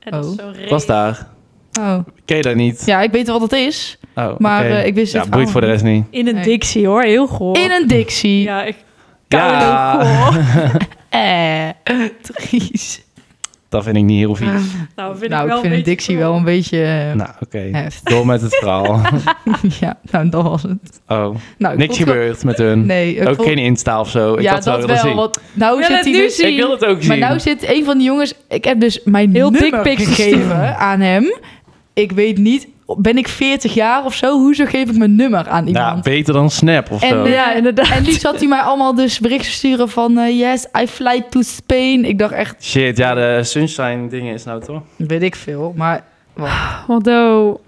Speaker 1: En dat is
Speaker 3: Oh.
Speaker 1: zo'n reet.
Speaker 2: Was daar.
Speaker 3: Oh.
Speaker 2: Ken je dat niet?
Speaker 3: Ja, ik weet wel wat dat is.
Speaker 2: Oh,
Speaker 3: Maar,
Speaker 2: oké.
Speaker 3: eh, ik wist
Speaker 2: ja,
Speaker 3: het
Speaker 2: boeit
Speaker 3: allemaal
Speaker 2: voor de rest niet.
Speaker 1: In een
Speaker 3: Nee.
Speaker 1: dictie hoor, heel goor.
Speaker 3: In een Dixie.
Speaker 1: Ja, ik
Speaker 2: Ja. [laughs]
Speaker 1: koude goor.
Speaker 3: Eh, Dries.
Speaker 2: Dat vind ik niet heel vies.
Speaker 1: Nou, vind
Speaker 3: nou,
Speaker 1: ik,
Speaker 3: ik,
Speaker 1: wel
Speaker 3: vind
Speaker 1: een
Speaker 3: de dictie wel een beetje eh,
Speaker 2: Nou, oké.
Speaker 3: heft.
Speaker 2: Door met het verhaal.
Speaker 3: [laughs] ja, nou, dat was het.
Speaker 2: Oh,
Speaker 3: Nou, ik vond
Speaker 2: niks
Speaker 3: het wel-
Speaker 2: gebeurd met hun.
Speaker 3: Nee, ik
Speaker 2: ook
Speaker 3: vond-
Speaker 2: geen Insta of zo. Ik
Speaker 3: ja,
Speaker 2: had het
Speaker 3: dat
Speaker 2: willen
Speaker 3: wel.
Speaker 2: zien.
Speaker 3: want nou
Speaker 1: Wil
Speaker 3: zit
Speaker 1: het
Speaker 3: hij
Speaker 1: nu
Speaker 3: dus...
Speaker 1: zien?
Speaker 2: Ik wil het ook zien.
Speaker 3: Maar nou zit een van die jongens... Ik heb dus mijn
Speaker 1: Heel
Speaker 3: nummer
Speaker 1: dickpics
Speaker 3: gegeven
Speaker 1: gestuurd.
Speaker 3: aan hem. Ik weet niet... Ben ik 40 jaar of zo? Hoezo geef ik mijn nummer aan
Speaker 2: ja,
Speaker 3: iemand?
Speaker 2: beter dan Snap of
Speaker 3: En,
Speaker 2: zo.
Speaker 3: eh,
Speaker 1: Ja, inderdaad.
Speaker 3: en nu zat hij mij allemaal dus berichten sturen van... eh, yes, I fly to Spain. Ik dacht echt...
Speaker 2: Shit, ja, de sunshine dingen is nou toch?
Speaker 3: Weet ik veel. Maar
Speaker 1: Want oh,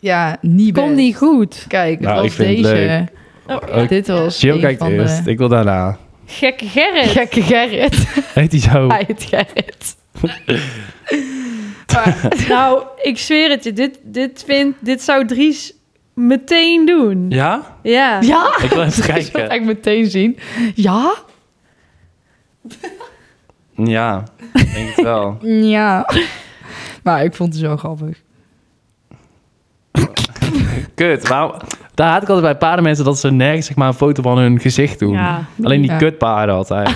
Speaker 3: ja, niet
Speaker 1: komt
Speaker 3: best.
Speaker 1: niet goed.
Speaker 3: Kijk,
Speaker 2: Nou,
Speaker 3: het
Speaker 2: ik
Speaker 3: was
Speaker 2: vind het
Speaker 3: deze.
Speaker 2: leuk.
Speaker 1: Oh,
Speaker 2: Ook-
Speaker 3: Dit was
Speaker 2: Jill
Speaker 3: een
Speaker 2: kijkt
Speaker 3: van
Speaker 2: eerst,
Speaker 3: de...
Speaker 2: ik wil daarna.
Speaker 1: Gekke Gerrit.
Speaker 3: Gekke Gerrit. [laughs]
Speaker 2: Heet hij zo?
Speaker 3: Hij heet Gerrit. [laughs] maar,
Speaker 1: Nou, ik zweer het je. Dit, dit, vind, dit zou Dries meteen doen.
Speaker 2: Ja?
Speaker 1: Ja.
Speaker 3: ja,
Speaker 2: Ik wil
Speaker 1: [laughs]
Speaker 2: even
Speaker 3: [laughs] ik zal het
Speaker 2: kijken.
Speaker 3: echt meteen zien. Ja?
Speaker 2: Ja, ik denk het wel.
Speaker 3: Ja. [laughs] Maar ik vond het zo grappig.
Speaker 2: Kut, maar daar haat ik altijd bij paardenmensen dat ze nergens zeg maar, een foto van hun gezicht doen.
Speaker 1: Ja.
Speaker 2: Alleen die
Speaker 3: Ja.
Speaker 2: kutpaarden
Speaker 1: [laughs]
Speaker 2: altijd.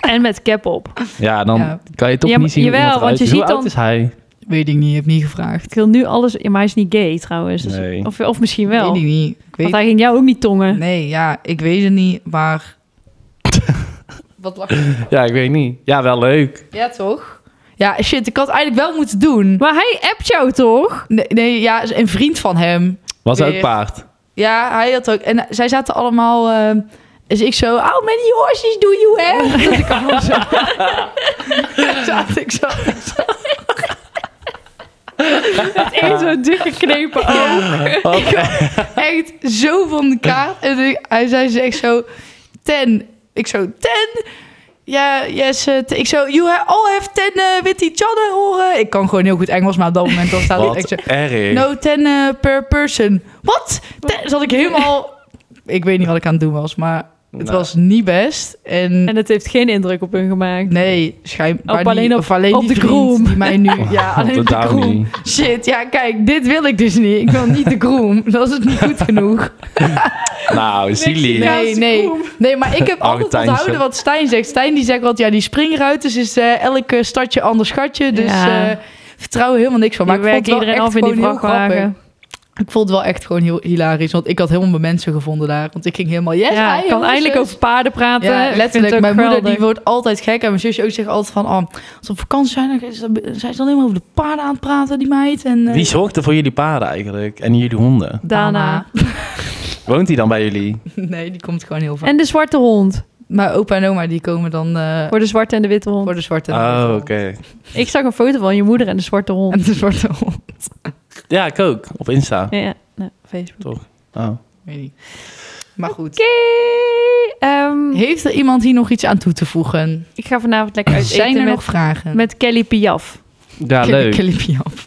Speaker 1: En met cap op.
Speaker 2: Ja, dan
Speaker 3: Ja.
Speaker 2: kan je toch
Speaker 1: Ja,
Speaker 2: niet zien
Speaker 1: jawel,
Speaker 2: hoe iemand
Speaker 1: want
Speaker 2: eruit
Speaker 1: je
Speaker 2: is. Hoe
Speaker 1: ziet
Speaker 2: oud
Speaker 1: dan-
Speaker 2: is hij?
Speaker 3: Weet ik niet, heb niet gevraagd.
Speaker 1: Ik wil nu alles... Ja, maar hij is niet gay trouwens. Dus-
Speaker 2: Nee.
Speaker 1: of, of misschien wel.
Speaker 3: Weet ik niet. Ik weet...
Speaker 1: Want hij ging jou ook niet tongen.
Speaker 3: Nee, ja, ik weet het niet, maar... [laughs] Wat lach je?
Speaker 2: Ja, ik weet niet. Ja, wel leuk.
Speaker 3: Ja, toch? Ja, shit, ik had eigenlijk wel moeten doen.
Speaker 1: Maar hij appt jou toch?
Speaker 3: Nee, nee ja, een vriend van hem.
Speaker 2: Was
Speaker 3: Weer.
Speaker 2: ook paard.
Speaker 3: Ja, hij had ook. En zij zaten allemaal. ehm, dus ik zo, oh, many horses do you [laughs] have? [laughs] Dat ik allemaal zo... Zat ik zo...
Speaker 1: Met één zo'n dikke knepen oog.
Speaker 3: Echt zo van de kaart. En ik- hij zei ze echt zo... Ten. Ik zo, ten? Ja, yes. eh, ten." ik zo, you ha- all have ten eh, with each other, horen. Ik kan gewoon heel goed Engels, maar op dat moment dan staat het echt
Speaker 2: Wat
Speaker 3: zo...
Speaker 2: erg.
Speaker 3: No, ten eh, per person. Wat? Ten- Zat ik helemaal... Ik weet niet wat ik aan het doen was, maar het
Speaker 2: Nou.
Speaker 3: was niet best. En...
Speaker 1: En het heeft geen indruk op hun gemaakt.
Speaker 3: Nee, schijnbaar
Speaker 1: Op
Speaker 3: niet.
Speaker 1: alleen op-
Speaker 3: of alleen
Speaker 1: op
Speaker 3: die
Speaker 1: de
Speaker 3: vriend
Speaker 1: groom.
Speaker 3: die mij
Speaker 2: [laughs]
Speaker 3: nu... Ja, alleen
Speaker 2: dat
Speaker 3: de
Speaker 2: daarom
Speaker 3: groom.
Speaker 2: niet.
Speaker 3: [laughs] Shit, ja, kijk, dit wil ik dus niet. Ik wil niet de groom. [laughs] Dat is het niet goed genoeg.
Speaker 2: Nou, Silly.
Speaker 1: Ja,
Speaker 3: Nee,
Speaker 1: is de
Speaker 3: nee.
Speaker 1: groom.
Speaker 3: Nee, maar ik heb altijd
Speaker 2: Argentijnse.
Speaker 3: onthouden wat Stijn zegt. Stijn die zegt wat, ja, die springruiters is eh elke stadje ander schatje. Dus
Speaker 1: Ja.
Speaker 3: eh vertrouw helemaal niks van. Maar
Speaker 1: Maar
Speaker 3: ik vond
Speaker 1: werkt
Speaker 3: het wel
Speaker 1: iedereen
Speaker 3: echt
Speaker 1: af in
Speaker 3: gewoon
Speaker 1: die
Speaker 3: heel grappig.
Speaker 1: vrachtwagen.
Speaker 3: Ik vond het wel echt gewoon heel hilarisch. Want ik had helemaal mijn mensen gevonden daar. Want ik ging helemaal, yes,
Speaker 1: ja,
Speaker 3: hi,
Speaker 1: ik kan
Speaker 3: jongens,
Speaker 1: eindelijk
Speaker 3: zus.
Speaker 1: over paarden praten. Ik
Speaker 3: Ja,
Speaker 1: vind
Speaker 3: letterlijk.
Speaker 1: het ook
Speaker 3: Mijn moeder die
Speaker 1: geweldig.
Speaker 3: wordt altijd gek. En mijn zusje ook zegt altijd van... Oh, als we op vakantie zijn, dan is dat- zijn ze alleen maar over de paarden aan het praten, die meid. En, eh,
Speaker 2: Wie zorgt er voor jullie paarden eigenlijk? En jullie honden?
Speaker 1: Daarna.
Speaker 2: Woont hij dan bij jullie?
Speaker 3: [laughs] Nee, die komt gewoon heel vaak.
Speaker 1: En de zwarte hond.
Speaker 3: Mijn opa en oma, die komen dan eh,
Speaker 1: Voor de zwarte en de witte hond.
Speaker 3: voor de zwarte
Speaker 2: Oh, oké.
Speaker 3: hond.
Speaker 1: Ik zag een foto van je moeder en de zwarte hond.
Speaker 3: En [laughs] de zwarte hond.
Speaker 2: Ja, ik ook. Op Insta.
Speaker 1: Ja, ja. Nou, Facebook.
Speaker 2: Toch? Oh.
Speaker 3: Weet niet. Maar goed.
Speaker 1: Oké. ehm,
Speaker 3: Heeft er iemand hier nog iets aan toe te voegen?
Speaker 1: ik ga vanavond lekker uit
Speaker 3: Zijn
Speaker 1: eten
Speaker 3: er
Speaker 1: met,
Speaker 3: nog vragen?
Speaker 1: met Kelly Piaf. [laughs]
Speaker 2: Ja,
Speaker 3: Kelly-
Speaker 2: leuk.
Speaker 3: Kelly Piaf.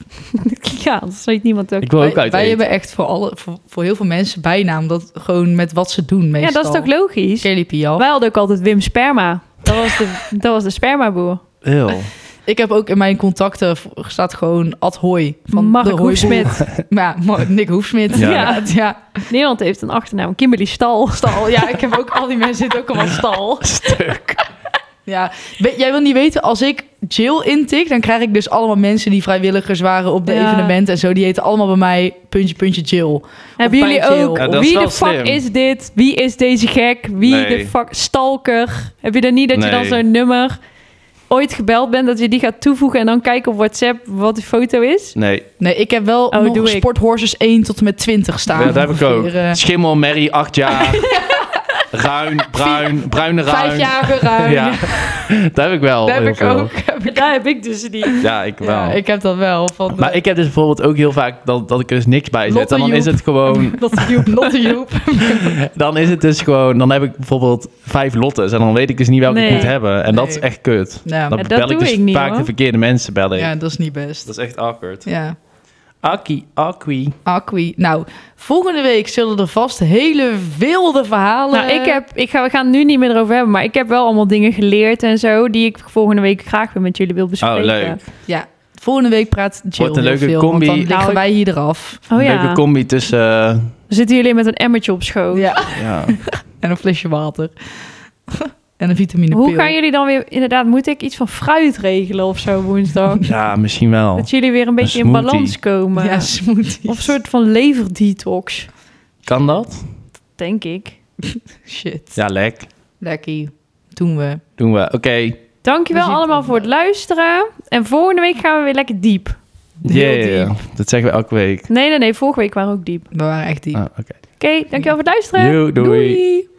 Speaker 1: ja, dat weet niemand ook.
Speaker 2: Ik wil ook
Speaker 3: Wij,
Speaker 2: uit
Speaker 3: wij
Speaker 2: eten.
Speaker 3: hebben echt voor, alle, voor, voor heel veel mensen bijnaam. Dat gewoon met wat ze doen
Speaker 1: Ja,
Speaker 3: meestal.
Speaker 1: dat is toch logisch?
Speaker 3: Kelly Piaf.
Speaker 1: Wij hadden ook altijd Wim Sperma. Dat was de, [laughs] dat was de spermaboer.
Speaker 2: Heel.
Speaker 3: Ik heb ook in mijn contacten v- staat gewoon Ad Hooi. Van de
Speaker 1: Mark
Speaker 3: Hooiboer.
Speaker 1: Hoefsmit.
Speaker 3: Ja, Mar- Nick Hoefsmit.
Speaker 2: Ja.
Speaker 3: Ja. ja.
Speaker 1: Nederland heeft een achternaam. Kimberly Stal.
Speaker 3: [laughs] Stal. Ja, ik heb ook al die mensen zitten ook allemaal stal.
Speaker 2: Stuk.
Speaker 3: Ja. We- jij wil niet weten, als ik Jill intik, dan krijg ik dus allemaal mensen die vrijwilligers waren op de
Speaker 1: Ja.
Speaker 3: evenementen en zo. Die heten allemaal bij mij puntje, puntje Jill.
Speaker 1: [laughs] Hebben jullie
Speaker 3: pijntje.
Speaker 1: ook?
Speaker 2: Ja, dat is
Speaker 1: wie
Speaker 2: wel
Speaker 1: de fuck
Speaker 2: slim.
Speaker 1: is dit? Wie is deze gek? Wie
Speaker 2: Nee.
Speaker 1: de fuck stalker? Heb je dan niet dat je dan
Speaker 2: Nee.
Speaker 1: zo'n nummer ooit gebeld bent dat je die gaat toevoegen en dan kijken op WhatsApp wat die foto is?
Speaker 2: Nee,
Speaker 3: Nee, ik heb wel
Speaker 1: Oh,
Speaker 3: nog
Speaker 1: doe ik.
Speaker 3: sporthorses 1 tot en met 20 staan.
Speaker 2: ja, dat heb ik ook.
Speaker 3: Ongeveer, eh,
Speaker 2: Schimmel, merrie, acht
Speaker 3: [laughs]
Speaker 2: jaar. Ruin, bruin, bruine ruin.
Speaker 3: Vijfjarige ruim.
Speaker 2: Ja, dat heb ik wel.
Speaker 3: dat heb
Speaker 2: heel
Speaker 3: ik
Speaker 2: veel.
Speaker 3: ook. Heb
Speaker 1: [laughs]
Speaker 3: ik-
Speaker 1: Daar heb ik dus die.
Speaker 2: Ja, ik wel.
Speaker 3: Ja, ik heb dat wel. Van eh, de-
Speaker 2: Maar ik heb dus bijvoorbeeld ook heel vaak dat, dat ik er dus niks bij zet.
Speaker 3: Lotte
Speaker 2: En dan is
Speaker 3: Joep.
Speaker 2: het gewoon
Speaker 3: [laughs] Lotte Joep, Lotte
Speaker 2: [laughs]
Speaker 3: Joep.
Speaker 2: Dan is het dus gewoon, dan heb ik bijvoorbeeld vijf lottes en dan weet ik dus niet welke
Speaker 1: Nee.
Speaker 2: ik moet hebben. En dat is
Speaker 3: Nee.
Speaker 2: echt kut.
Speaker 3: Ja,
Speaker 2: Dan
Speaker 1: Ja, dat
Speaker 2: bel ik
Speaker 1: doe
Speaker 2: dus
Speaker 1: ik niet,
Speaker 2: vaak
Speaker 1: hoor.
Speaker 2: de verkeerde mensen bel ik.
Speaker 3: ja, dat is niet best.
Speaker 2: Dat is echt awkward.
Speaker 3: Ja.
Speaker 2: Aki, Aki.
Speaker 3: Acqui. Nou, volgende week zullen er vast hele wilde verhalen.
Speaker 1: Nou, ik heb, ik ga, we gaan het nu niet meer erover hebben, maar ik heb wel allemaal dingen geleerd en zo die ik volgende week graag weer met jullie wil bespreken.
Speaker 2: Oh, leuk.
Speaker 3: Ja, volgende week praat Jill
Speaker 2: Wordt een
Speaker 3: heel
Speaker 2: leuke
Speaker 3: veel,
Speaker 2: combi.
Speaker 3: Want dan liggen
Speaker 1: Nou,
Speaker 3: wij hier eraf.
Speaker 1: Oh
Speaker 2: Leuke
Speaker 1: ja.
Speaker 2: combi tussen, eh,
Speaker 1: Oh. Dan zitten jullie met een emmertje op schoot.
Speaker 3: Ja.
Speaker 2: ja.
Speaker 3: En een flesje water. [laughs] en een vitamine
Speaker 1: Hoe gaan jullie dan weer... Inderdaad, moet ik iets van fruit regelen of zo woensdag?
Speaker 2: Ja, misschien wel.
Speaker 1: Dat jullie weer een beetje in
Speaker 2: smoothie.
Speaker 1: balans komen.
Speaker 3: Ja, smoothie.
Speaker 1: eh, Of een soort van leverdetox,
Speaker 2: Kan dat?
Speaker 1: denk ik.
Speaker 3: Shit.
Speaker 2: Ja, lek.
Speaker 3: Lekkie. Doen we.
Speaker 2: Doen we. Oké.
Speaker 1: Dankjewel
Speaker 3: We zien-
Speaker 1: allemaal voor het luisteren. En volgende week gaan we weer lekker diep.
Speaker 2: Yeah. Dat zeggen we elke week.
Speaker 1: Nee, nee, nee. Vorige week waren we ook diep. Oké,
Speaker 3: We waren echt die.
Speaker 2: Ah, Oké.
Speaker 1: dankjewel voor het luisteren.
Speaker 2: Yo, doei.
Speaker 1: doei.